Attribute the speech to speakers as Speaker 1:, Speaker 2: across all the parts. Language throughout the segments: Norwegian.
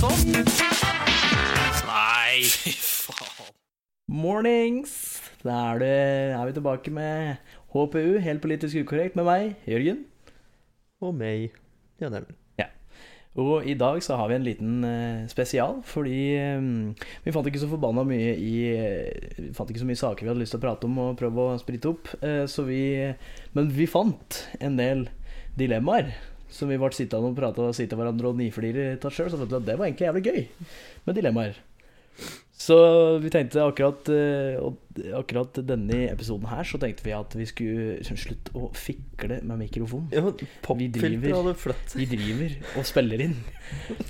Speaker 1: sånn?
Speaker 2: mornings! Da er, det, er vi tilbake med HPU, helt politisk ukorrekt, med meg, Jørgen.
Speaker 1: Og meg, Jan Erlend.
Speaker 2: Og i dag så har vi en liten eh, spesial, fordi eh, vi fant ikke så forbanna mye i eh, Vi fant ikke så mye saker vi hadde lyst til å prate om og prøve å sprite opp, eh, så vi Men vi fant en del dilemmaer. Som vi ble sittende og prate og sitte hverandre og niflire av sjøl. Så fant vi at det var egentlig jævlig gøy med dilemmaer. Så vi tenkte akkurat, eh, og akkurat denne episoden her, så tenkte vi at vi skulle slutte å fikle med mikrofonen.
Speaker 1: Ja,
Speaker 2: driver.
Speaker 1: Popfilter hadde flytt.
Speaker 2: De driver og spiller inn.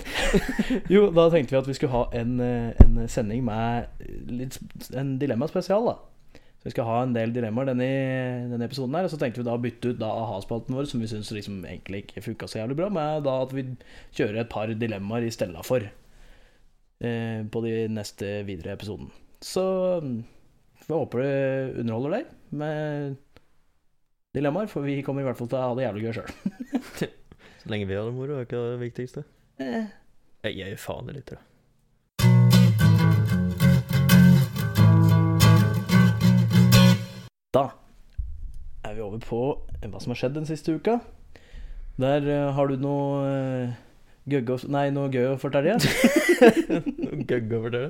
Speaker 2: Jo, da tenkte vi at vi skulle ha en, eh, en sending med litt, en dilemmaspesial, da. Så vi skal ha en del dilemmaer denne, denne episoden her. Og så tenkte vi da å bytte ut da aha-spalten vår, som vi syns liksom egentlig ikke funka så jævlig bra, med da at vi kjører et par dilemmaer i stedet for. Eh, på de neste videre episoden. Så mm, vi håper det underholder deg med dilemmaer, for vi kommer i hvert fall til å ha det jævlig gøy sjøl.
Speaker 1: Så lenge vi har det moro, er ikke det viktigste.
Speaker 2: Eh.
Speaker 1: Jeg gir faen i litt, da.
Speaker 2: Da er vi over på eh, hva som har skjedd den siste uka. Der eh, har du noe eh, gøgg å, nei, noe gøy å fortelle?
Speaker 1: Noe gøgg over det.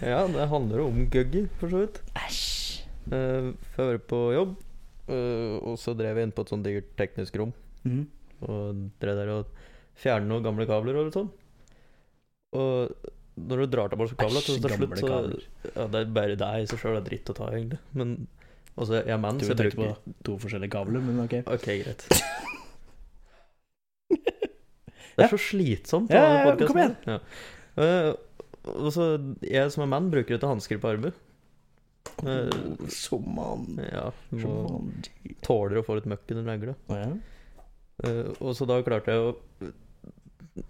Speaker 1: Ja, det handler jo om gøgger, for så vidt.
Speaker 2: Æsj.
Speaker 1: Eh, Før jeg var på jobb, eh, og så drev jeg inn på et sånt digert teknisk rom.
Speaker 2: Mhm.
Speaker 1: Og drev der og fjernet noen gamle kabler og litt sånn. Og når du drar tilbake kabler,
Speaker 2: Æsj,
Speaker 1: til til
Speaker 2: gamle
Speaker 1: slutt, så
Speaker 2: kabler.
Speaker 1: ja, Det er bare det i seg sjøl er dritt å ta, egentlig. Men altså, jeg er man,
Speaker 2: Du
Speaker 1: så jeg
Speaker 2: tenkte på
Speaker 1: bruker
Speaker 2: to forskjellige kabler, men ok.
Speaker 1: Ok, greit. Det er så slitsomt. å ha
Speaker 2: Ja, ja, ja,
Speaker 1: podcasten
Speaker 2: kom igjen.
Speaker 1: her. Ja. Eh, og så, jeg som er mann, bruker ikke hansker på armen. Eh,
Speaker 2: Som mann.
Speaker 1: ja,
Speaker 2: Som
Speaker 1: må,
Speaker 2: mann.
Speaker 1: tåler å få litt møkk under negla.
Speaker 2: Å, ja.
Speaker 1: Eh, og så da klarte jeg å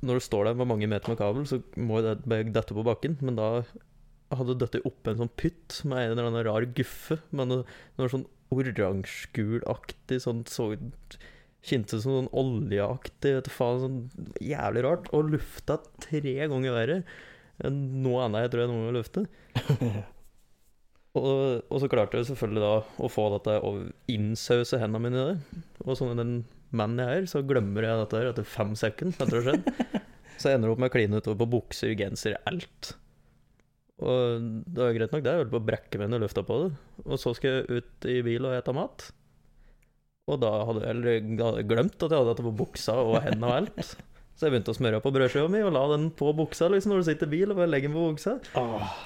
Speaker 1: Når du står der med mange meter med kabel, så må jo det bare dette på bakken, men da hadde det dødd oppå en sånn pytt med en eller annen rar guffe. Men det det var sånn oransjegulaktig, sånn så Kjente det som sånn oljeaktig, vet du faen. Sånn jævlig rart. Og lufta tre ganger verre enn noe annet jeg tror jeg noen gang lufte. og, og så klarte jeg selvfølgelig da å få dette og innsause hendene mine i det. Og sånn den mannen jeg er, så glemmer jeg dette her etter fem sekunder etter det har skjedd. Så jeg ender opp med å kline utover på bukser, genser, alt. Og det var jo greit nok, det. Jeg holdt på å brekke meg under lufta på det. Og så skal jeg ut i bil og ete mat. Og da hadde jeg eller da hadde jeg glemt at jeg hadde dette på buksa og hendene og alt. Så jeg begynte å smøre på brødskiva mi og la den på buksa liksom når du sitter i bil. og bare legger den på buksa.
Speaker 2: Åh,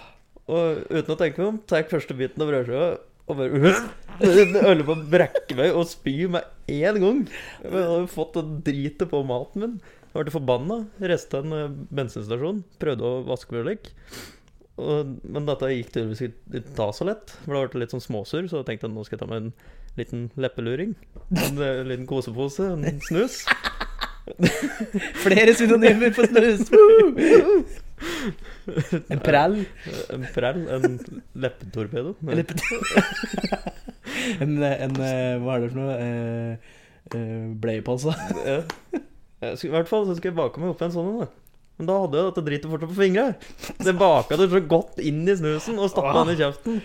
Speaker 1: Og uten å tenke meg om, tar jeg første biten av brødskiva og bare Jeg holder på å brekke meg og spy med én gang. Jeg hadde jo fått det dritet på maten min. Jeg ble forbanna. Resta en eh, bensinstasjon. Prøvde å vaske meg vekk. Og- Men dette gikk tydeligvis ikke ikke ta så lett. For da ble jeg litt sånn småsur, så jeg tenkte jeg nå skal jeg ta meg en liten leppeluring. En eh, liten kosepose, en snus.
Speaker 2: Flere synonymer for snus! Woo! En prell.
Speaker 1: En prell. En leppetorpedo. Nei.
Speaker 2: Eller en, en eh, Hva er det for noe? Eh, eh, Bleiepose.
Speaker 1: Ja. Jeg skulle, I hvert fall så skulle jeg bake meg opp en sånn en. da. Men da hadde jeg dette dritet fortsatt på fingra. Det baka det så godt inn i snusen og stappa den i kjeften.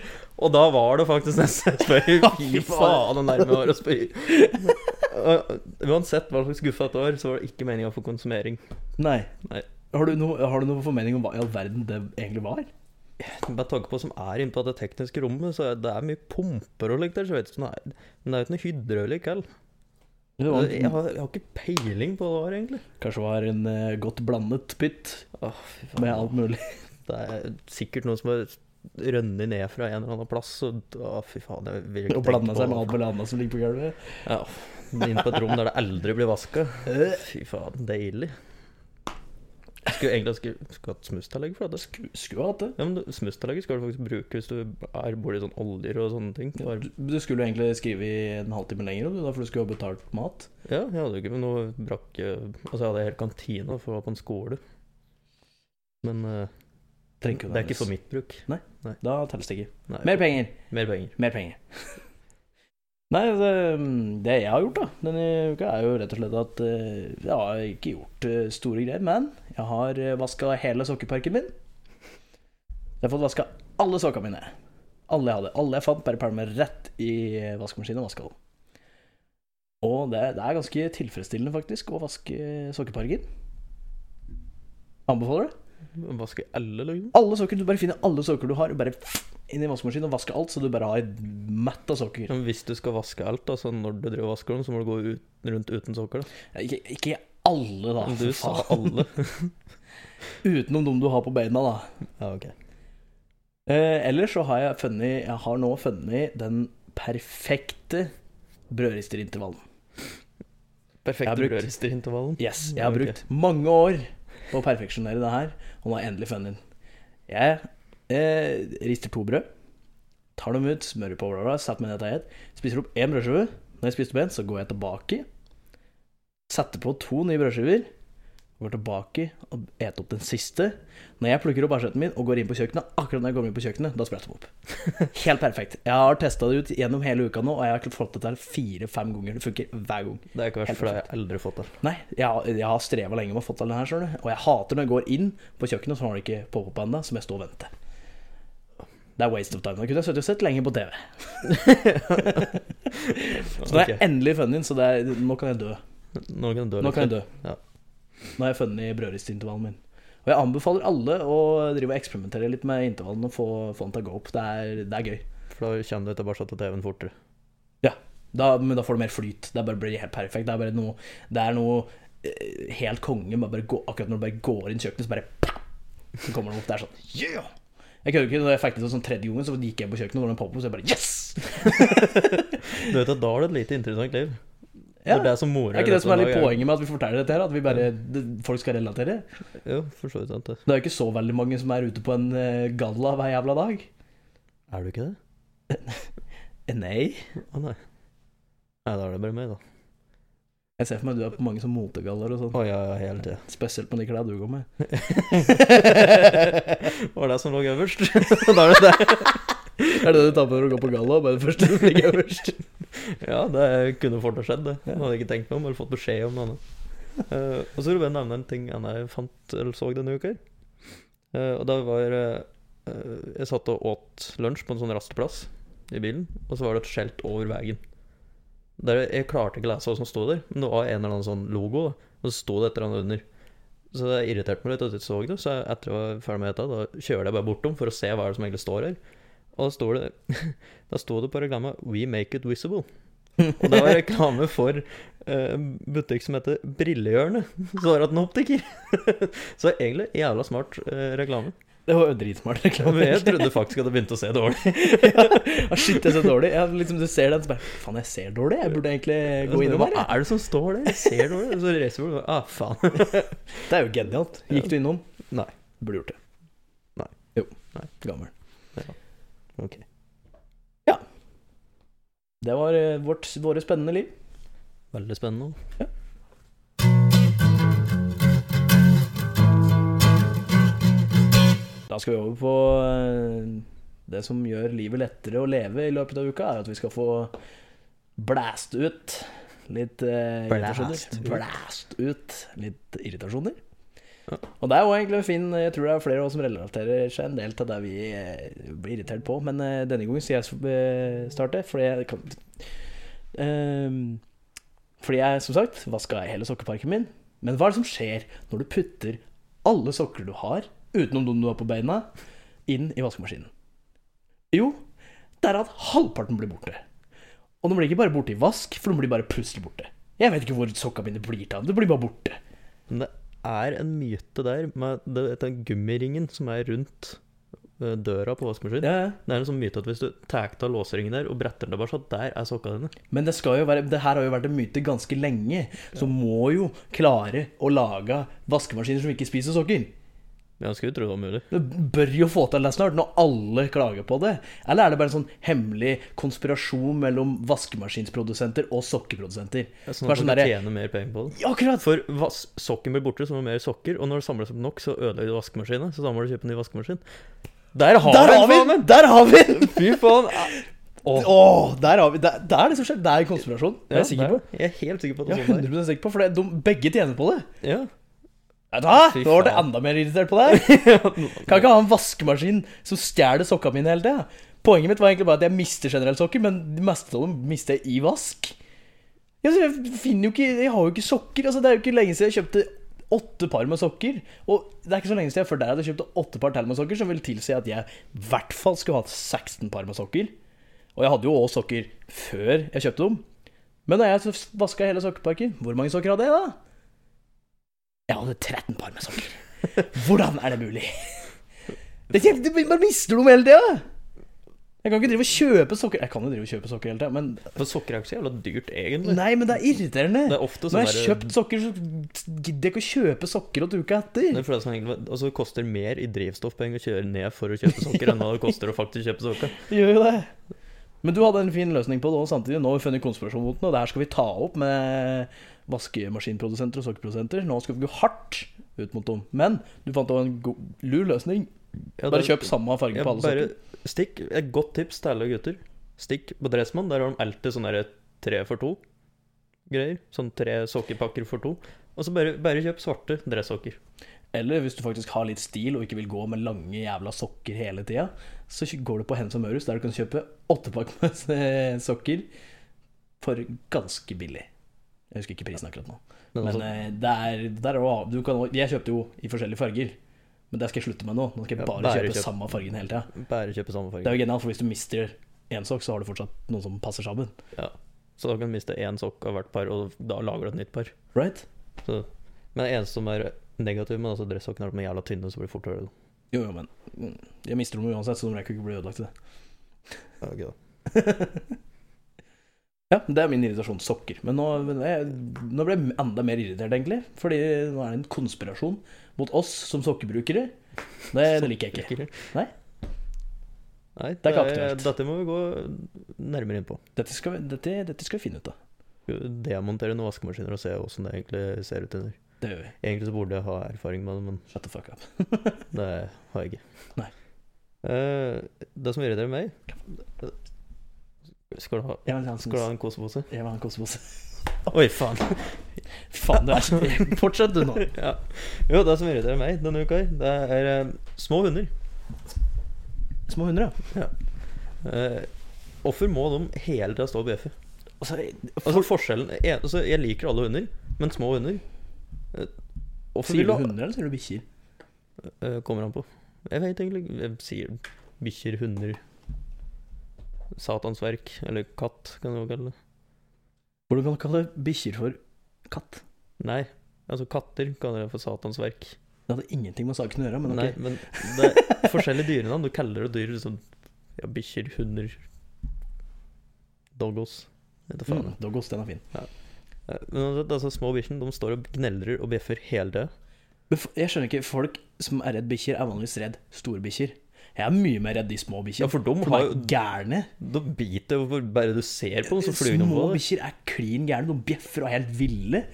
Speaker 1: Og da var det faktisk nesten et spøy. Fy faen, det nærme var å spy. Og Uansett hva slags guffe dette var, så var det ikke meninga for konsumering.
Speaker 2: Nei.
Speaker 1: Nei.
Speaker 2: Har du, noe, har du noe formening om hva i all verden det egentlig var?
Speaker 1: Med tanke på som er inne på det tekniske rommet, så er det er mye pumper og likt der. Så jeg vet ikke, om det er- men det er jo ikke noe hydraulikk heller.
Speaker 2: Det var,
Speaker 1: Jeg, har- jeg har ikke peiling på hva det var, egentlig.
Speaker 2: kanskje det var en eh, godt blandet pytt
Speaker 1: Åh, fy faen.
Speaker 2: med alt mulig.
Speaker 1: Det er sikkert noen som har rønnet ned fra en eller annen plass. Og, å, fy faen, jeg vil ikke
Speaker 2: Og blanda seg med alt mulig annet som ligger på gulvet.
Speaker 1: Ja, Inn på et rom der det aldri blir vaska. Fy faen, deilig. Skulle egentlig skulle, skulle hatt smustallegg for det.
Speaker 2: Sku- Skulle hatt det.
Speaker 1: Ja, men du- Smustallegget skal du faktisk bruke hvis du er, bor i sånn oljer og sånne ting.
Speaker 2: Du,
Speaker 1: Bare,
Speaker 2: du skulle jo egentlig skrive i en halvtime lenger om det, da, for du skulle ha betalt mat.
Speaker 1: ja, jeg hadde jo ikke noe brakke Altså, jeg hadde helt kantina for å være på en skole. Men eh, det
Speaker 2: Trenger
Speaker 1: er ikke
Speaker 2: nødvendigvis.
Speaker 1: for mitt bruk.
Speaker 2: Da telles det ikke.
Speaker 1: Nei,
Speaker 2: Mer penger!
Speaker 1: mer penger.
Speaker 2: Mer penger. Nei, det, det jeg har gjort da denne uka, er jo rett og slett at eh, jeg har ikke gjort eh, store greier, men jeg eh, har vaska hele sokkeparken min. Jeg har fått vaska alle sokkene mine. Alle jeg hadde. Alle jeg fant, bare pælma rett i eh, vaskemaskinen og vaska dem. Og det, det er ganske tilfredsstillende, faktisk, å vaske sokkepargen. Anbefaler det.
Speaker 1: Vaske alle, liksom.
Speaker 2: Alle sokker, Du bare finner alle sokker du har, og bare inn i vaskemaskinen og vaske alt, så du bare har et mett av sokker.
Speaker 1: Men hvis du skal vaske alt, da, så når du driver og vasker dem, så må du gå ut, rundt uten sokker. Da.
Speaker 2: Ikke, ikke alle, da.
Speaker 1: Men
Speaker 2: for
Speaker 1: du sa
Speaker 2: faen.
Speaker 1: alle.
Speaker 2: Utenom dem du har på beina, da.
Speaker 1: ja, ok.
Speaker 2: Eh, ellers så har jeg funnet Jeg har nå funnet den perfekte brødristerintervallen. Jeg har
Speaker 1: Perfekte
Speaker 2: brukt-
Speaker 1: brødristerintervallen.
Speaker 2: Yes, jeg har
Speaker 1: Ok.
Speaker 2: brukt mange år på å perfeksjonere det her, og nå har jeg endelig funnet den. Jeg eh, rister to brød, tar dem ut, smører på, bla, bla, setter meg ned til ett, spiser opp én brødskive. Når jeg spiser opp én, så går jeg tilbake, setter på to nye brødskiver, går tilbake og eter opp den siste. Når jeg plukker opp asjetten min og går inn på kjøkkenet, akkurat når jeg kommer inn på kjøkkenet, da spretter de opp. Helt perfekt. Jeg har testa det ut gjennom hele uka nå, og jeg har fått det til fire-fem ganger. Det funker hver gang.
Speaker 1: Det er ikke verst,
Speaker 2: Helt
Speaker 1: for det har jeg aldri fått til.
Speaker 2: Nei, jeg, har- jeg har streva lenge med å få til den her, skjønner du. Og jeg hater når jeg går inn på kjøkkenet, så har den ikke pop-up ennå, som jeg står og venter. Det er waste of time. Da kunne jeg sittet og sett lenge på TV. Så nå har jeg
Speaker 1: Ok.
Speaker 2: endelig funnet den, så det er, nå kan jeg dø.
Speaker 1: Nå kan du dø
Speaker 2: Nå kan jeg dø.
Speaker 1: Ja.
Speaker 2: Nå har jeg funnet brødristintervallen min. Og jeg anbefaler alle å drive og eksperimentere litt med intervallen og få, få den til å gå opp. Det er, det er gøy.
Speaker 1: For da kommer du tilbake til TV-en fortere.
Speaker 2: Da, men da får du mer flyt. Det bare blir helt perfekt. Det er bare noe, det er noe eh, helt konge. Bare, bare gå, akkurat når du bare går inn i kjøkkenet, så bare pah! Så kommer den opp. Det er sånn yeah! Jeg kødder ikke. Da jeg fikk det til sånn tredje gangen, så gikk jeg på kjøkkenet og var det en pop-up, så jeg bare yes!
Speaker 1: Du vet at da har du et lite interessant liv.
Speaker 2: Ja.
Speaker 1: Det er det som morer
Speaker 2: Det er ikke det som er
Speaker 1: dette
Speaker 2: litt
Speaker 1: laget.
Speaker 2: poenget med at vi forteller dette her, at vi bare, det, folk skal relatere.
Speaker 1: Jo, for så vidt sant det.
Speaker 2: Det er jo ikke så veldig mange som er ute på en eh, galla hver jævla dag.
Speaker 1: Er du ikke det?
Speaker 2: Eh, Nei.
Speaker 1: Å nei. Nei, da er det bare meg, da.
Speaker 2: Jeg ser for meg at du er på mange som motegaller og sånn.
Speaker 1: Å ja, ja, hele tida.
Speaker 2: Spesielt med de klærne du går med.
Speaker 1: Var det som lå øverst? da er det det.
Speaker 2: Er det det du tar på når du går på galla? Bare det første som ligger øverst?
Speaker 1: Ja, det kunne fort ha skjedd, det. Man hadde ikke tenkt meg om, eller fått beskjed om noe annet. Eh, og så vil jeg bare nevne en ting jeg fant eller så denne uka. her. Eh, og det var eh, eh, Jeg satt og åt lunsj på en sånn rasteplass i bilen, og så var det et skjelt over veien. Der jeg klarte ikke å lese hva som sto der, men det var en eller annen sånn logo, da, og så sto det et eller annet under. Så det irriterte meg litt at jeg ikke så det, så etter jeg var ferdig med dette, da kjører jeg bare bortom for å se hva er det som egentlig står her. Og da står det Da sto det på reklama 'We make it visible'. Og det var reklame for eh, en butikk som heter Brillehjørnet. Så var det at en optiker. så egentlig jævla smart eh, reklame.
Speaker 2: Det var jo dritsmart reklame.
Speaker 1: Men jeg trodde faktisk at jeg begynte å se dårlig.
Speaker 2: Ah, shit, jeg ser dårlig. Jeg, liksom, du ser den, så bare Faen, jeg ser dårlig. Jeg burde egentlig gå innom
Speaker 1: Hva
Speaker 2: her. jeg».
Speaker 1: er det som står der? Jeg ser dårlig. Så reiser jeg meg og Ah, faen.
Speaker 2: Det er jo genialt. Gikk du innom?
Speaker 1: Nei.
Speaker 2: Burde gjort det.
Speaker 1: Nei.
Speaker 2: Jo.
Speaker 1: Nei.
Speaker 2: Gammel.
Speaker 1: Ok.
Speaker 2: Det var eh, vårt, våre spennende liv.
Speaker 1: Veldig spennende.
Speaker 2: Da skal vi over på eh, det som gjør livet lettere å leve i løpet av uka, er at vi skal få blæst ut litt eh,
Speaker 1: Blæst
Speaker 2: irritasjoner.
Speaker 1: ut.
Speaker 2: Blæst ut litt irritasjoner.
Speaker 1: Ja.
Speaker 2: Og det er jo egentlig en fin Jeg tror det er flere av oss som relaterer seg en del til det vi eh, blir irritert på, men eh, denne gangen skal jeg eh, starte, fordi jeg kan Ehm, Fordi jeg, som sagt, vaska hele sokkeparken min. Men hva er det som skjer når du putter alle sokker du har, utenom dem du har på beina, inn i vaskemaskinen? Jo, det er at halvparten blir borte. Og de blir ikke bare borte i vask, for de blir bare plutselig borte. Jeg vet ikke hvor sokka mine blir av. De blir bare borte.
Speaker 1: Men det er en myte der med det- den gummiringen som er rundt eh, døra på vaskemaskinen.
Speaker 2: Ja, ja.
Speaker 1: Det er en sånn myte at hvis du tar av låseringen der og bretter den tilbake, så der er sokka dine.
Speaker 2: Men det, skal jo være, det her har jo vært en myte ganske lenge, så må jo klare å lage vaskemaskiner som ikke spiser sokker.
Speaker 1: Jeg skulle tro det var mulig.
Speaker 2: Det bør jo få til det snart, når alle klager på det. Eller er det bare en sånn hemmelig konspirasjon mellom vaskemaskinsprodusenter og sokkeprodusenter?
Speaker 1: Det er Sånn
Speaker 2: Som er
Speaker 1: at
Speaker 2: sånn
Speaker 1: man
Speaker 2: derre-
Speaker 1: tjener mer penger på det.
Speaker 2: Ja, akkurat!
Speaker 1: For vas sokken blir borte, så må det mer sokker. Og når det samles opp nok, så ødelegger du vaskemaskinen. Så da må du kjøpe en ny vaskemaskin. Der har
Speaker 2: Der
Speaker 1: vi
Speaker 2: har vi
Speaker 1: den!
Speaker 2: den! Der har vi den!
Speaker 1: faen meg! Fy faen!
Speaker 2: Åh, der har vi Det det er det som skjer. Det er en konspirasjon. Det er jeg sikker på.
Speaker 1: Jeg er helt sikker på at
Speaker 2: Jeg
Speaker 1: det
Speaker 2: er
Speaker 1: er sånn der.
Speaker 2: 100 sikker på, for det- de begge tjener på det.
Speaker 1: Ja.
Speaker 2: Ja, Da
Speaker 1: Fy
Speaker 2: nå ble jeg
Speaker 1: faen.
Speaker 2: enda mer irritert på det her. Kan ikke ha en vaskemaskin som stjeler sokka mine hele tida. Poenget mitt var egentlig bare at jeg mister generelt sokker, men det meste av dem mister jeg i vask. Ja, så jeg finner jo ikke Jeg har jo ikke sokker. Altså, det er jo ikke lenge siden jeg kjøpte åtte par med sokker. Og det er ikke så lenge siden jeg før der hadde kjøpt åtte par til med sokker, som vil tilsi at jeg i hvert fall skulle hatt 16 par med sokker. Og jeg hadde jo òg sokker før jeg kjøpte dem. Men da jeg vaska hele sokkeparken, hvor mange sokker hadde jeg da? Jeg hadde 13 par med sokker. Hvordan er det mulig? Det er, det, man mister dem hele tida! Jeg kan ikke drive og kjøpe sokker Jeg kan jo drive og kjøpe sokker hele tida, men
Speaker 1: For sokker er jo ikke så jævla dyrt, egentlig.
Speaker 2: Nei, men det er irriterende.
Speaker 1: Det er ofte sånn
Speaker 2: Når jeg har
Speaker 1: der-
Speaker 2: kjøpt sokker, så gidder jeg ikke å kjøpe sokker åt uka etter.
Speaker 1: Det føles som egentlig, altså, det koster mer i drivstoffpenger å kjøre ned for å kjøpe sokker, enn hva det koster å faktisk kjøpe sokker.
Speaker 2: Det gjør jo det. Men du hadde en fin løsning på det også samtidig. Nå har vi funnet konspirasjon mot den, og det her skal vi ta opp med vaskemaskinprodusenter og sokkerprodusenter. Nå skal vi gå hardt ut mot dem. Men du fant også en god, lur løsning.
Speaker 1: Ja,
Speaker 2: Bare
Speaker 1: det-
Speaker 2: kjøp samme farge
Speaker 1: Ja,
Speaker 2: på alle
Speaker 1: bare
Speaker 2: sokker.
Speaker 1: stikk. Et godt tips til alle gutter. Stikk på Dressmann. Der har de alltid sånn derre tre for to-greier. Sånn tre sokkepakker for to. Og så bare, bare kjøp svarte dresssokker.
Speaker 2: Eller hvis du faktisk har litt stil og ikke vil gå med lange jævla sokker hele tida, så går du på Hennes og Mørhus, der du kan kjøpe åttepakk med eh, sokker for ganske billig. Jeg husker ikke prisen akkurat nå.
Speaker 1: Men
Speaker 2: Men
Speaker 1: altså,
Speaker 2: eh, det er, det er også, du kan, også- jeg kjøpte jo i forskjellige farger, men det skal jeg slutte med nå. Nå skal jeg
Speaker 1: Ja,
Speaker 2: bare,
Speaker 1: bare
Speaker 2: kjøpe
Speaker 1: kjøp.
Speaker 2: samme fargen hele tida.
Speaker 1: bare kjøpe samme
Speaker 2: eh, Det er
Speaker 1: farge.
Speaker 2: jo genialt, for hvis du mister én sokk, så har du fortsatt noen som passer sammen.
Speaker 1: Ja. Så da kan du miste én sokk av hvert par, og da lager du et nytt par.
Speaker 2: Right?
Speaker 1: Så, men det eneste som er negativt med altså, dresssokkene, er at de er jævla tynne, så blir det fort øl.
Speaker 2: Jo, jo, men mm, jeg mister dem uansett, så de rekker ikke å bli ødelagt til det.
Speaker 1: Ja, ok da.
Speaker 2: Ja, det er min irritasjon. Sokker. Men nå, men jeg, nå ble jeg enda mer irritert, egentlig. Fordi nå er det en konspirasjon mot oss som sokkebrukere. Det, det liker jeg ikke.
Speaker 1: Ikke.
Speaker 2: Nei.
Speaker 1: Nei, det er
Speaker 2: Det er ikke aktuelt.
Speaker 1: Dette må vi gå nærmere inn på.
Speaker 2: Dette skal, vi- dette, dette skal vi finne ut av.
Speaker 1: Demontere noen vaskemaskiner og se åssen det egentlig ser ut under.
Speaker 2: Det gjør vi.
Speaker 1: Egentlig så burde jeg ha erfaring med det, men
Speaker 2: Shut the fuck up.
Speaker 1: Det har jeg ikke.
Speaker 2: Nei.
Speaker 1: Eh, det som irriterer meg Skal du ha,
Speaker 2: Jeg vil ha en
Speaker 1: skal du ha
Speaker 2: kos-
Speaker 1: en kosepose?
Speaker 2: jeg vil ha en kosepose.
Speaker 1: Oi, faen.
Speaker 2: Faen, du er så Fortsett du nå.
Speaker 1: ja. Jo, det som irriterer meg denne uka, her, det er eh, små hunder.
Speaker 2: Små hunder, ja.
Speaker 1: Eh, Hvorfor må de hele tida stå og bjeffe?
Speaker 2: Altså,
Speaker 1: Altså, forskjellen en, altså, Jeg liker alle hunder, men små hunder eh, Hvorfor
Speaker 2: sier
Speaker 1: vil
Speaker 2: du
Speaker 1: du ha
Speaker 2: hunder, eller sier du bikkjer?
Speaker 1: Eh, Kommer an på. Jeg vet egentlig ikke. Jeg sier bikkjer, hunder Satans verk. Eller katt, kan du også kalle det.
Speaker 2: Hvordan kan du kalle bikkjer for katt?
Speaker 1: Nei, altså katter kaller jeg for Satans verk.
Speaker 2: Det hadde ingenting med saken å gjøre, men ok.
Speaker 1: Nei, men det er forskjellige dyrenavn. Du kaller det dyr liksom ja, bikkjer, hunder, doggos. Vet du faen.
Speaker 2: Mm, Doggos, den er fin.
Speaker 1: Eh, Men altså, disse små bikkjene de står og gneldrer og bjeffer hele tida.
Speaker 2: Men f- Jeg skjønner ikke, folk som er redd bikkjer, er vanligvis redd store bikkjer. Jeg er mye mer redd de små
Speaker 1: Ja,
Speaker 2: bikkjer.
Speaker 1: for de,
Speaker 2: For de
Speaker 1: har
Speaker 2: er
Speaker 1: jo,
Speaker 2: gærne.
Speaker 1: de sånn biter jo hvor bare du ser på dem, så flyr de på
Speaker 2: Små
Speaker 1: deg.
Speaker 2: bikkjer er klin gærne. De bjeffer og er helt ville.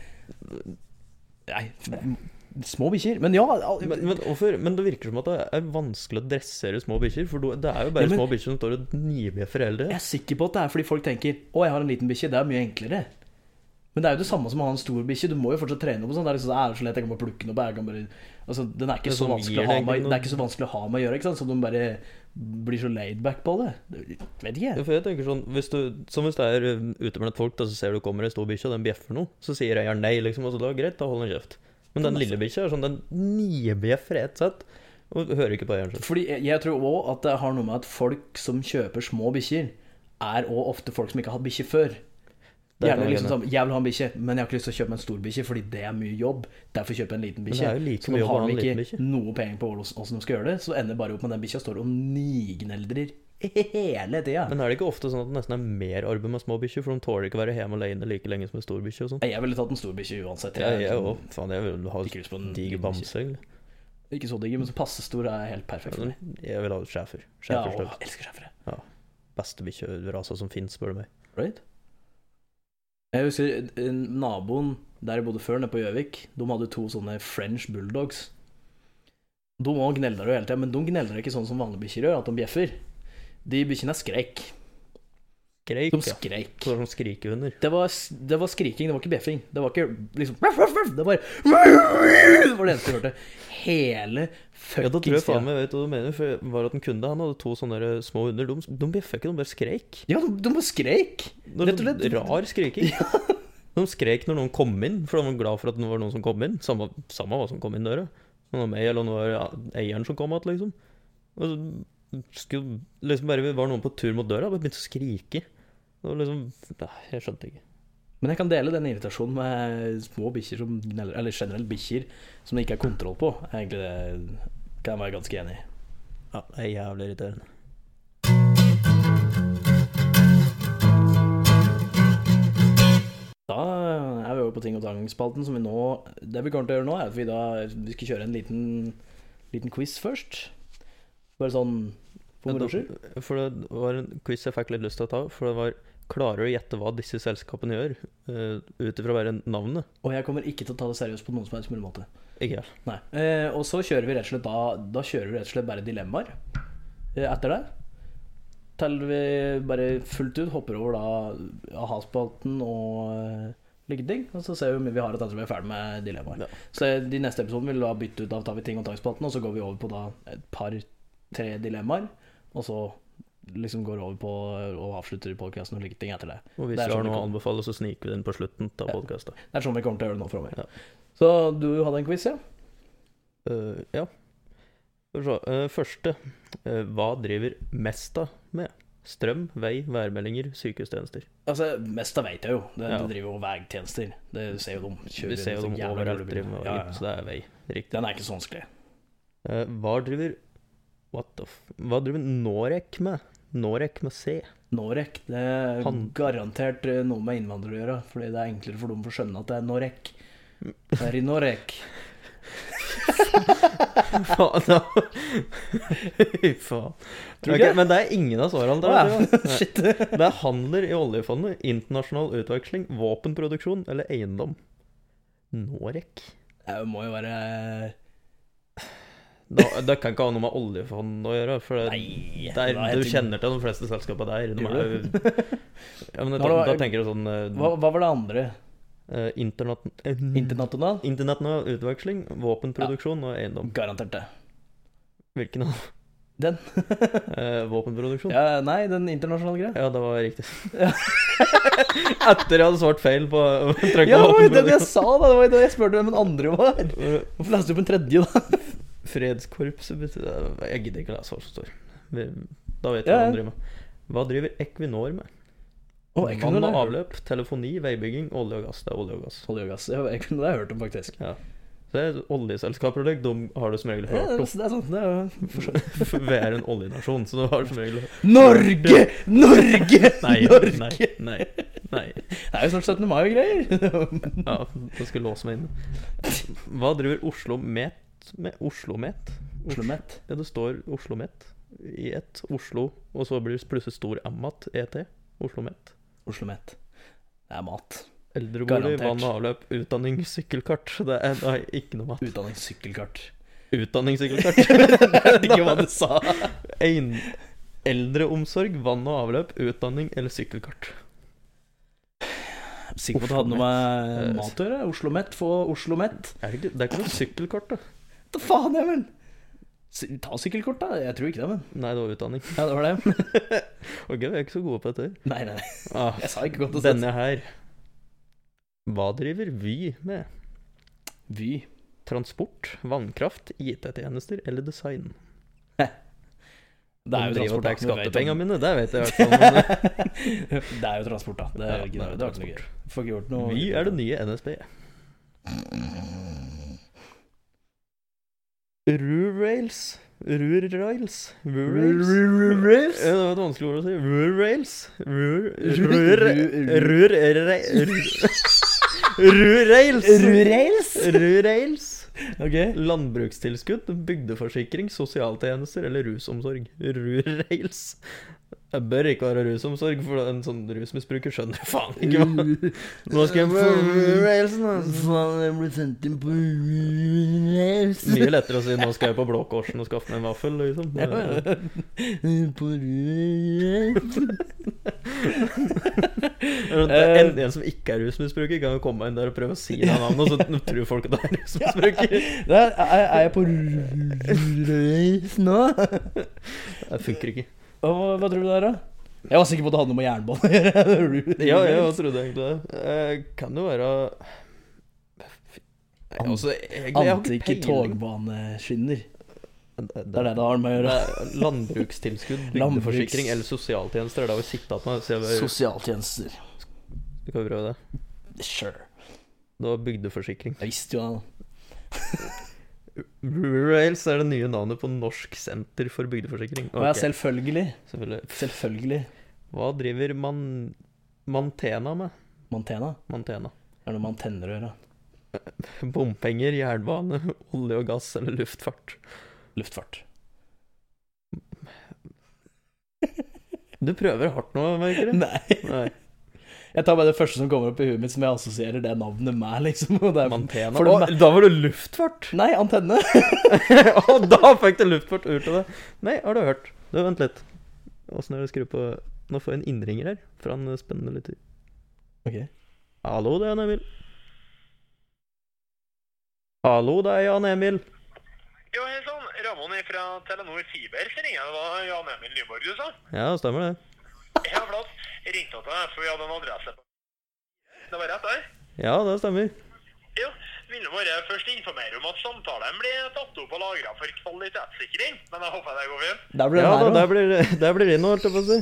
Speaker 2: Nei, f- små bikkjer. Men ja, al-
Speaker 1: Men, men, hvorfor, men det virker som at det er vanskelig å dressere små bikkjer. For det er jo bare
Speaker 2: Ja, men-
Speaker 1: små bikkjer som står og nibjeffer hele
Speaker 2: Jeg
Speaker 1: tida.
Speaker 2: er sikker på at det er fordi folk tenker Å, jeg har en liten bikkje, det er mye enklere Men det er jo det samme som å ha en stor bikkje Du må jo fortsatt trene opp og sånn Det er liksom det er jo så lett, jeg kan bare plukke den opp jeg kan bare... altså, Den er
Speaker 1: Det
Speaker 2: ikke
Speaker 1: er
Speaker 2: så
Speaker 1: sånn gir
Speaker 2: vanskelig å ha
Speaker 1: det egentlig
Speaker 2: med
Speaker 1: noe-
Speaker 2: Det er ikke så vanskelig å ha med å gjøre, ikke sant Så de bare blir så laid back på det Det- Vet ikke jeg
Speaker 1: For jeg tenker sånn, hvis du, Som hvis det er um, ute blant folk, da, så ser du kommer ei stor bikkje, og den bjeffer noe. Så sier eieren nei, liksom. Og så da greit, da holder den kjeft. Men den
Speaker 2: altså-
Speaker 1: lille bikkja er sånn, den nibjeffer ett sett, og hører ikke på eieren sin.
Speaker 2: Fordi jeg, jeg tror også at det har noe med at folk som kjøper små bikkjer Er også ofte folk som ikke har hatt bikkje før
Speaker 1: Det kan
Speaker 2: Gjerne
Speaker 1: jeg
Speaker 2: liksom
Speaker 1: hende.
Speaker 2: sånn, jeg vil ha en bikkje, men jeg har ikke lyst til å kjøpe meg en stor bikkje, fordi det er mye jobb. Derfor kjøper jeg en liten bikkje.
Speaker 1: det er jo like
Speaker 2: Så
Speaker 1: mye
Speaker 2: nå
Speaker 1: jobb å
Speaker 2: har
Speaker 1: ha en
Speaker 2: de
Speaker 1: liten
Speaker 2: ikke noe penger på åssen de skal gjøre det, så ender bare opp med den bikkja står og nigneldrer hele tida.
Speaker 1: Men er det ikke ofte sånn at det nesten er mer arbeid med små bikkjer? For de tåler ikke å være hjemme alene like lenge som en stor bikkje og sånn.
Speaker 2: Jeg ville tatt en stor bikkje uansett.
Speaker 1: Ja, jeg
Speaker 2: liksom
Speaker 1: òg. Faen, jeg vil ha
Speaker 2: ikke lyst på en
Speaker 1: diger
Speaker 2: liten bikkje.
Speaker 1: bamse. egentlig. Altså,
Speaker 2: Ikke så diger, men så passe stor er helt perfekt for meg.
Speaker 1: Jeg vil ha schæfer.
Speaker 2: Ja,
Speaker 1: Schæfer
Speaker 2: og
Speaker 1: står
Speaker 2: jeg elsker sjefere.
Speaker 1: beste bikkjerasa som fins, spør du meg.
Speaker 2: Right? Jeg husker eh, naboen der jeg bodde før, nede på Gjøvik, de hadde to sånne French bulldogs. De òg gneldra jo hele tida, men de gneldra ikke sånn som vanlige bikkjer gjør, at de bjeffer. De bikkjene skrek.
Speaker 1: skreik.
Speaker 2: De
Speaker 1: ja.
Speaker 2: skreik.
Speaker 1: Så sånn de skrikehunder.
Speaker 2: Det var, det var skriking, det var ikke bjeffing. Det var ikke liksom ruff, ruff, ruff. Det var Det var det eneste jeg hørte. Hele
Speaker 1: Ja, da tror
Speaker 2: fuckings
Speaker 1: jeg faen
Speaker 2: tida.
Speaker 1: meg jeg vet hva du mener, for jeg var at en kunde han hadde to sånne der små hunder. De, de bjeffa ikke, de bare skreik.
Speaker 2: Ja, de, de skreik.
Speaker 1: Det var
Speaker 2: Rett og slett.
Speaker 1: sånn Rar skriking. De skreik når noen kom inn, for de var glad for at det var noen som kom inn. Samme, samme hva som kom inn døra. Om det var meg eller om det var ja, eieren som kom igjen, liksom. Og så skulle, liksom bare vi var noen på tur mot døra, bare begynte å skrike. Det var liksom Nei, jeg skjønte ikke.
Speaker 2: Men jeg kan dele den irritasjonen med små bikkjer, som gneller- eller generelt bikkjer, som det ikke er kontroll på. Egentlig det kan jeg være ganske enig i.
Speaker 1: Ja, det er jævlig irriterende.
Speaker 2: Da er vi over på ting og tang-spalten, som vi nå Det vi kommer til å gjøre nå, er at vi da vi skal kjøre en liten, liten quiz først. Bare sånn for moro skyld.
Speaker 1: For det var en quiz jeg fikk litt lyst til å ta, for det var Klarer du å gjette hva disse selskapene gjør, uh, ut ifra bare navnet?
Speaker 2: Og jeg kommer ikke til å ta det seriøst på noen som helst mulig måte.
Speaker 1: Ikke jeg.
Speaker 2: Nei. Eh, og så kjører vi rett og slett da Da kjører vi rett og slett bare dilemmaer eh, etter det. Til vi bare fullt ut hopper over da a-ha-spalten og eh, like ting. Og så ser vi om vi har et etter vi er ferdig med dilemmaer.
Speaker 1: Ja.
Speaker 2: Så eh, de neste episoden vil da bytte ut da tar vi ting og tang-spalten, og så går vi over på da et par-tre dilemmaer. Og så liksom går over på og avslutter podkasten og like ting etter det.
Speaker 1: Og hvis
Speaker 2: Det er
Speaker 1: vi
Speaker 2: sånn
Speaker 1: har
Speaker 2: det
Speaker 1: noe å
Speaker 2: kommer.
Speaker 1: anbefale, så sniker vi den på slutten av
Speaker 2: Ja.
Speaker 1: podkasten.
Speaker 2: Det er sånn vi kommer til å gjøre det nå framover.
Speaker 1: Ja.
Speaker 2: Så du hadde en quiz, ja?
Speaker 1: Eh, ja. Skal vi se. Eh, første. Eh, hva driver mest av med? Strøm, vei, værmeldinger, sykehustjenester.
Speaker 2: Altså, mest av veit jeg jo. Det,
Speaker 1: Ja.
Speaker 2: det driver jo vegtjenester. Det ser jo de.
Speaker 1: Vi ser jo
Speaker 2: så
Speaker 1: dem
Speaker 2: sånn jævla
Speaker 1: overalt
Speaker 2: kule
Speaker 1: driver med
Speaker 2: biler.
Speaker 1: vei,
Speaker 2: Ja, ja,
Speaker 1: så
Speaker 2: ja.
Speaker 1: det er vei. Riktig.
Speaker 2: Den er ikke så vanskelig.
Speaker 1: Eh, hva driver What the f... Hva driver Norec med? Norec med C.
Speaker 2: Norec, det er
Speaker 1: Han-
Speaker 2: garantert eh, noe med innvandrere å gjøre. Fordi det er enklere for dem å skjønne at det er Norec. Det er i Norec.
Speaker 1: Faen, da. Fy faen.
Speaker 2: Tror du
Speaker 1: Ok,
Speaker 2: ikke?
Speaker 1: men det er ingen av svarene der.
Speaker 2: Å, ja.
Speaker 1: det var- Nei. Det er handler i oljefondet, internasjonal utveksling, våpenproduksjon eller eiendom. Norec?
Speaker 2: Det må jo være
Speaker 1: Det, det kan ikke ha noe med oljefond å gjøre. For det,
Speaker 2: Nei.
Speaker 1: det er,
Speaker 2: da er
Speaker 1: du
Speaker 2: jeg til-
Speaker 1: kjenner til de fleste selskapene der. De er, jo- ja, men
Speaker 2: Nå
Speaker 1: da,
Speaker 2: var
Speaker 1: da
Speaker 2: det-
Speaker 1: tenker du sånn eh,
Speaker 2: hva, hva var det andre?
Speaker 1: eh, internat, eh,
Speaker 2: Internatonal?
Speaker 1: Internasjonal utveksling, våpenproduksjon og eiendom.
Speaker 2: Garantert det.
Speaker 1: Hvilken av
Speaker 2: Den.
Speaker 1: Eh, Våpenproduksjon? Ja.
Speaker 2: ja, nei, den internasjonale greia.
Speaker 1: det var riktig.
Speaker 2: Ja.
Speaker 1: Etter jeg hadde svart feil på trykket
Speaker 2: Ja, det var jo den
Speaker 1: våpenproduksjon.
Speaker 2: jeg sa, da! Det var jo det jeg spurte hvem den andre var. Hvorfor leste du på en tredje, da?
Speaker 1: Fredskorpset betyr Jeg gidder ikke å lese hva som står. Vi- Da vet jeg
Speaker 2: Ja,
Speaker 1: hva
Speaker 2: ja.
Speaker 1: de driver med. Hva driver Equinor med?
Speaker 2: Å, jeg kunne
Speaker 1: Vann og
Speaker 2: det.
Speaker 1: avløp, telefoni, veibygging, olje og gass. Det er olje og gass.
Speaker 2: Olje og gass. Ja, Jeg kunne det har jeg hørt om, faktisk.
Speaker 1: Så det er oljeselskaper og deg, de har du som regel
Speaker 2: Ja,
Speaker 1: hørt om.
Speaker 2: det er sant. Det er jo
Speaker 1: For Vi er en oljenasjon, så du har som regel
Speaker 2: Norge! Norge!
Speaker 1: Nei,
Speaker 2: Norge!
Speaker 1: nei, nei. nei.
Speaker 2: Det er jo snart 17. mai og greier.
Speaker 1: Ja, jeg skulle låse meg inne. Hva driver Oslo Met med? Oslo Met?
Speaker 2: Oslomet.
Speaker 1: Ja, det står Oslo Met i ett. Oslo, og så blir det plutselig stor M at ET. Oslo Met.
Speaker 2: Oslomet. Det er mat.
Speaker 1: Eldrebolig,
Speaker 2: Garantert.
Speaker 1: vann og avløp, utdanning, sykkelkart. Det er nei, ikke noe mat.
Speaker 2: Utdanning, sykkelkart.
Speaker 1: Utdanning, sykkelkart.
Speaker 2: Jeg vet ikke hva du sa.
Speaker 1: Ein- Eldreomsorg, vann og avløp, utdanning eller sykkelkart.
Speaker 2: Sikker på at det hadde noe med mat å gjøre. Oslomet få Oslomet.
Speaker 1: Er det, ikke, det er ikke noe sykkelkart, da.
Speaker 2: Hva faen, Even? Sy- Ta sykkelkort, da. Jeg tror ikke det, men.
Speaker 1: Nei, det var utdanning.
Speaker 2: Ja, det var det.
Speaker 1: Ok, vi er ikke så gode på dette.
Speaker 2: Nei, nei, nei.
Speaker 1: Ah,
Speaker 2: Jeg sa ikke godt å sette.
Speaker 1: denne her. Hva driver Vy med?
Speaker 2: Vy.
Speaker 1: Transport, vannkraft, IT-tjenester eller design?
Speaker 2: Det er jo
Speaker 1: De driver og
Speaker 2: transport.
Speaker 1: tar
Speaker 2: da. Vi vet om-
Speaker 1: Skattepengene mine, det vet jeg i hvert fall. men-
Speaker 2: det er jo transport, da.
Speaker 1: Ja,
Speaker 2: Det er jo ikke
Speaker 1: det
Speaker 2: noe
Speaker 1: er
Speaker 2: det er ikke noe
Speaker 1: transport.
Speaker 2: gøy. Får ikke gjort noe
Speaker 1: Vy er det nye NSB. Rurails Rurails Rurails Ja,
Speaker 2: Rurrails?
Speaker 1: Det var et vanskelig ord å si. Rurails Rur-
Speaker 2: Ru-
Speaker 1: rur-
Speaker 2: ru-
Speaker 1: rur- ru- Rurails Rurails
Speaker 2: Ok.
Speaker 1: Landbrukstilskudd, bygdeforsikring, sosialtjenester eller rusomsorg. Rurails Jeg bør ikke være rusomsorg, for en sånn rusmisbruker skjønner faen ikke hva Nå skal jeg på railsen, altså.
Speaker 2: Faen, jeg ble sendt inn på rails.
Speaker 1: Mye lettere å si 'nå skal jeg på Blå Korsen og skaffe meg en vaffel', liksom.
Speaker 2: Ja, ja. På rails.
Speaker 1: En, en som ikke er rusmisbruker, kan jo komme inn der og prøve å si det navnet, og så tror folk at det er rusmisbruker.
Speaker 2: Det er, er, er jeg på rails nå?
Speaker 1: Det funker ikke.
Speaker 2: Hva, hva tror du det er, da? Jeg var sikker på at det hadde noe med jernbane å gjøre.
Speaker 1: Ja, jeg også trodde egentlig det. Eh, Kan jo være altså, Jeg er også- egentlig, jeg har ikke
Speaker 2: Antikke
Speaker 1: peiling.
Speaker 2: togbaneskinner. Det
Speaker 1: Det
Speaker 2: er det det har med å
Speaker 1: Det
Speaker 2: gjøre.
Speaker 1: er landbrukstilskudd, bygdeforsikring eller sosialtjenester. Det er det vi sitter igjen med. Så jeg bare,
Speaker 2: Sosialtjenester.
Speaker 1: du kan prøve det.
Speaker 2: Sure.
Speaker 1: Det var bygdeforsikring.
Speaker 2: Jeg visste jo det.
Speaker 1: Rurails er det nye navnet på Norsk senter for bygdeforsikring.
Speaker 2: Og jeg
Speaker 1: Ok,
Speaker 2: selvfølgelig,
Speaker 1: selvfølgelig.
Speaker 2: selvfølgelig
Speaker 1: Hva driver man Mantena med?
Speaker 2: Mantena.
Speaker 1: Mantena.
Speaker 2: Det er noe man tenner å gjøre.
Speaker 1: Bompenger, jernbane, olje og gass eller luftfart.
Speaker 2: Luftfart.
Speaker 1: Du prøver hardt nå, merker jeg.
Speaker 2: Nei.
Speaker 1: Nei.
Speaker 2: Jeg tar bare det første som kommer opp i huet mitt som jeg assosierer det navnet med, liksom. Og det er...
Speaker 1: Mantena.
Speaker 2: for det
Speaker 1: Å,
Speaker 2: me-
Speaker 1: da var det luftfart!
Speaker 2: Nei, antenne.
Speaker 1: Og da fikk det luftfart ut av det. Nei, har du hørt? Du, vent litt. Åssen er det å skru på Nå får jeg en innringer her fra en eh, spennende lytter.
Speaker 2: Ok.
Speaker 1: Hallo, det er Jan Emil. Hallo, det er Jan Emil.
Speaker 3: Jo, hei sann. Ramon fra Telenor Fiber så ringer jeg. Det var Jan Emil Nyborg du sa?
Speaker 1: Ja, stemmer det.
Speaker 3: Jeg har flott. Ringte til deg, for vi hadde en adresse på Det var rett der?
Speaker 1: Ja, det stemmer.
Speaker 3: Jo. Ville bare først informere om at samtalen blir tatt opp og lagra for kvalitetssikring. Men jeg håper det går fint.
Speaker 2: Der ble det
Speaker 1: Ja, da,
Speaker 2: her
Speaker 1: der
Speaker 2: òg.
Speaker 1: blir, der blir det inn, holdt jeg på å si.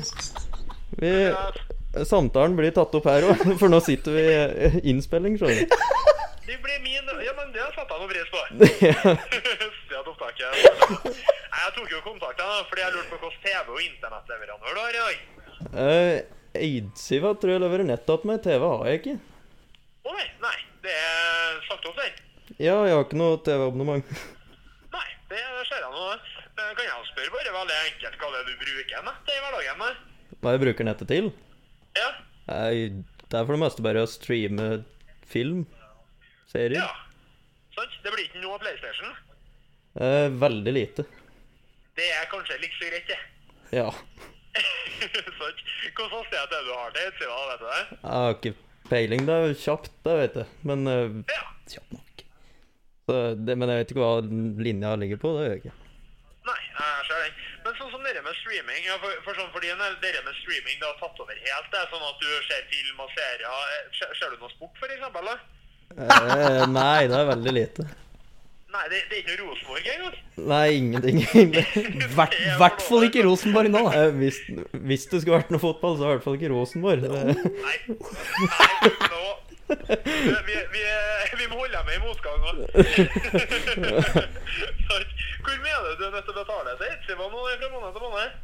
Speaker 1: Vi, samtalen blir tatt opp her òg, for nå sitter vi eh, innspilling, skjønner du.
Speaker 3: Det blir min Ja, men det setter jeg noe pris på. Sted opptaket. Nei, Jeg tok jo kontakt da, fordi jeg lurte på hvilken TV- og internettleverandør du har i dag.
Speaker 1: Eh, Eidsiva tror jeg leverer nettopp meg. TV har jeg ikke.
Speaker 3: Å nei. Nei. Det er sagt opp, den.
Speaker 1: Ja, jeg har ikke noe TV-abonnement.
Speaker 3: Nei, det ser jeg nå. Eh, Kan jeg spørre bare veldig enkelt hva det er du bruker nett i hverdagen? da?
Speaker 1: Hva jeg bruker nettet til?
Speaker 3: Ja,
Speaker 1: Nei, det er for det meste bare å streame film. Serier.
Speaker 3: ja. Sant? Det blir ikke noe PlayStation.
Speaker 1: Eh, veldig lite.
Speaker 3: Det er kanskje like så greit, det.
Speaker 1: Ja.
Speaker 3: Sant? Hvilken hastighet er det du har til utsida, vet du det?
Speaker 1: Jeg har ikke peiling. Det er jo kjapt, det vet jeg. Men, eh,
Speaker 3: Ja.
Speaker 2: Kjapt nok.
Speaker 1: så det, men jeg vet ikke hva linja ligger på. Det gjør jeg ikke.
Speaker 3: Nei, jeg ser den. Men sånn som dere med streaming ja, for, for sånn for din del, dere med streaming det har tatt over helt, det er sånn at du ser film og serier. eh, Ser, ser du noe sport, for eksempel? da?
Speaker 1: Eh, nei, det er veldig lite.
Speaker 3: Nei, det, det er ikke noe Rosenborg engang.
Speaker 1: Nei, ingenting. egentlig.
Speaker 2: I hvert, hvert fall ikke Rosenborg nå, da.
Speaker 1: Eh, hvis, hvis det skulle vært noe fotball, så er det i hvert fall ikke Rosenborg. Eh, Det,
Speaker 3: Nei. Nei, nå. Vi, vi, vi må holde med i motgang nå. Sant. Hvor mye er det du er nødt til å betale til Eidsiva nå fra måned til måned?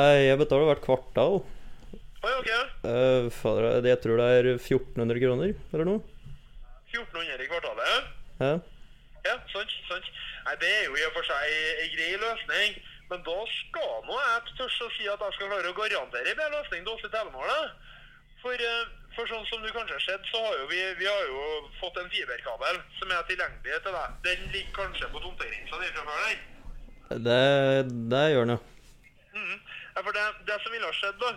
Speaker 1: eh, jeg betaler hvert kvartal.
Speaker 3: Oi, ok.
Speaker 1: Eh, fader, jeg tror det er 1400 kroner eller noe.
Speaker 3: 1400 i kvartalet, ja?
Speaker 1: Eh,
Speaker 3: Ja, sant, sant. Nei, det er jo i og for seg en grei løsning. Men da skal nå jeg tørst å si at jeg skal klare å garantere en bedre løsning til oss i Telemark, da. For, eh, for sånn som du kanskje har sett, så har jo vi, vi har jo fått en fiberkabel som er tilgjengelig til deg. Den ligger kanskje på tomtegrensa di fra før, den.
Speaker 1: det, det gjør den jo.
Speaker 3: Mhm. Ja, for det, det som ville ha skjedd, da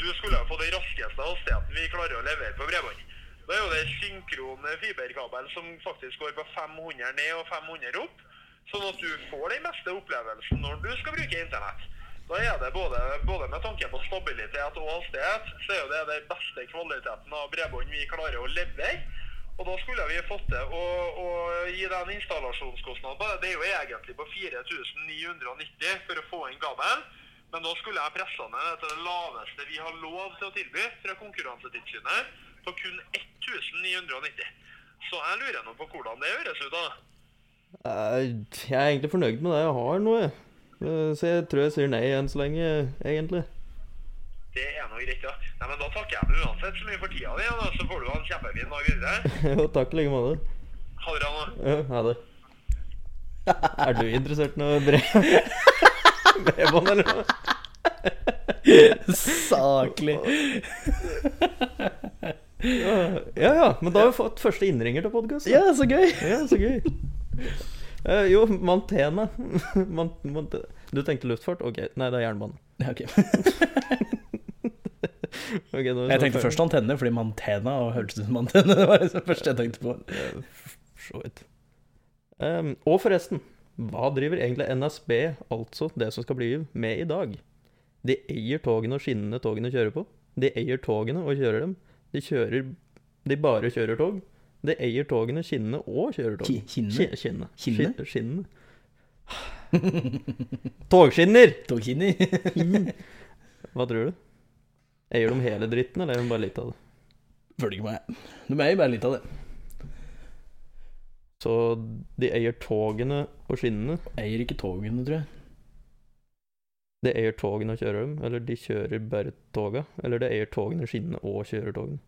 Speaker 3: Du skulle ha fått den raskeste hastigheten vi klarer å levere på bredbånd. Da er jo det synkron fiberkabel som faktisk går på 500 ned og 500 opp. Sånn at du får den beste opplevelsen når du skal bruke internett. Da er det både, både med tanke på stabilitet og hastighet, så er jo det den beste kvaliteten av bredbånd vi klarer å levere. Og da skulle vi fått til å, å gi deg en installasjonskostnad på det. Det er jo egentlig på 4990 for å få inn kabelen. Men da skulle jeg pressa ned det til det laveste vi har lov til å tilby fra Konkurransetilsynet, på kun 1990. Så jeg lurer nå på hvordan det høres ut, da.
Speaker 1: Eh, jeg er egentlig fornøyd med det jeg har nå, jeg. Eh, så jeg tror jeg sier nei enn så lenge, egentlig.
Speaker 3: Det er nå greit, ja. Nei, men da takker jeg deg uansett så mye for tida di, da. Så får du ha en kjempefin dag videre.
Speaker 1: Jo, takk i like måte.
Speaker 3: Ha det bra nå.
Speaker 1: Ja, ha det. Er du interessert i noe brev? Bredbånd, eller noe?
Speaker 2: Saklig.
Speaker 1: Ja ja, men da har vi fått første innringer til podkast.
Speaker 2: Ja, så gøy.
Speaker 1: ja, så gøy. Eh, jo, Mantena. Man, Mante- du tenkte luftfart? Ok, nei, det er jernbane.
Speaker 2: Ja, ok.
Speaker 1: Ok, nå er vi
Speaker 2: Jeg
Speaker 1: snart
Speaker 2: tenkte
Speaker 1: ferdig.
Speaker 2: først antenne, fordi mantena og hørtes ut som antenne. Det var det første jeg tenkte på.
Speaker 1: Eh, f- for så vidt. Ehm, og forresten, hva driver egentlig NSB, altså det som skal bli Juv, med i dag? De eier togene og skinnene togene kjører på. De eier togene og kjører dem. De kjører De bare kjører tog. De eier togene, skinnene og kjører tog.
Speaker 2: Ki- Kinne?
Speaker 1: Skin- Skinnene.
Speaker 2: Kinne?
Speaker 1: Skin- Skinnene. Togskinner!
Speaker 2: Togkinni?
Speaker 1: Hva tror du? Eier de hele dritten, eller eier de bare litt av det?
Speaker 2: Følger ikke meg. Du er jo bare litt av det.
Speaker 1: Så de eier togene og skinnene.
Speaker 2: Eier ikke togene, tror jeg.
Speaker 1: Det eier togene og kjører dem, eller de kjører bare toga. Eller det eier togene, skinnene og kjører togene.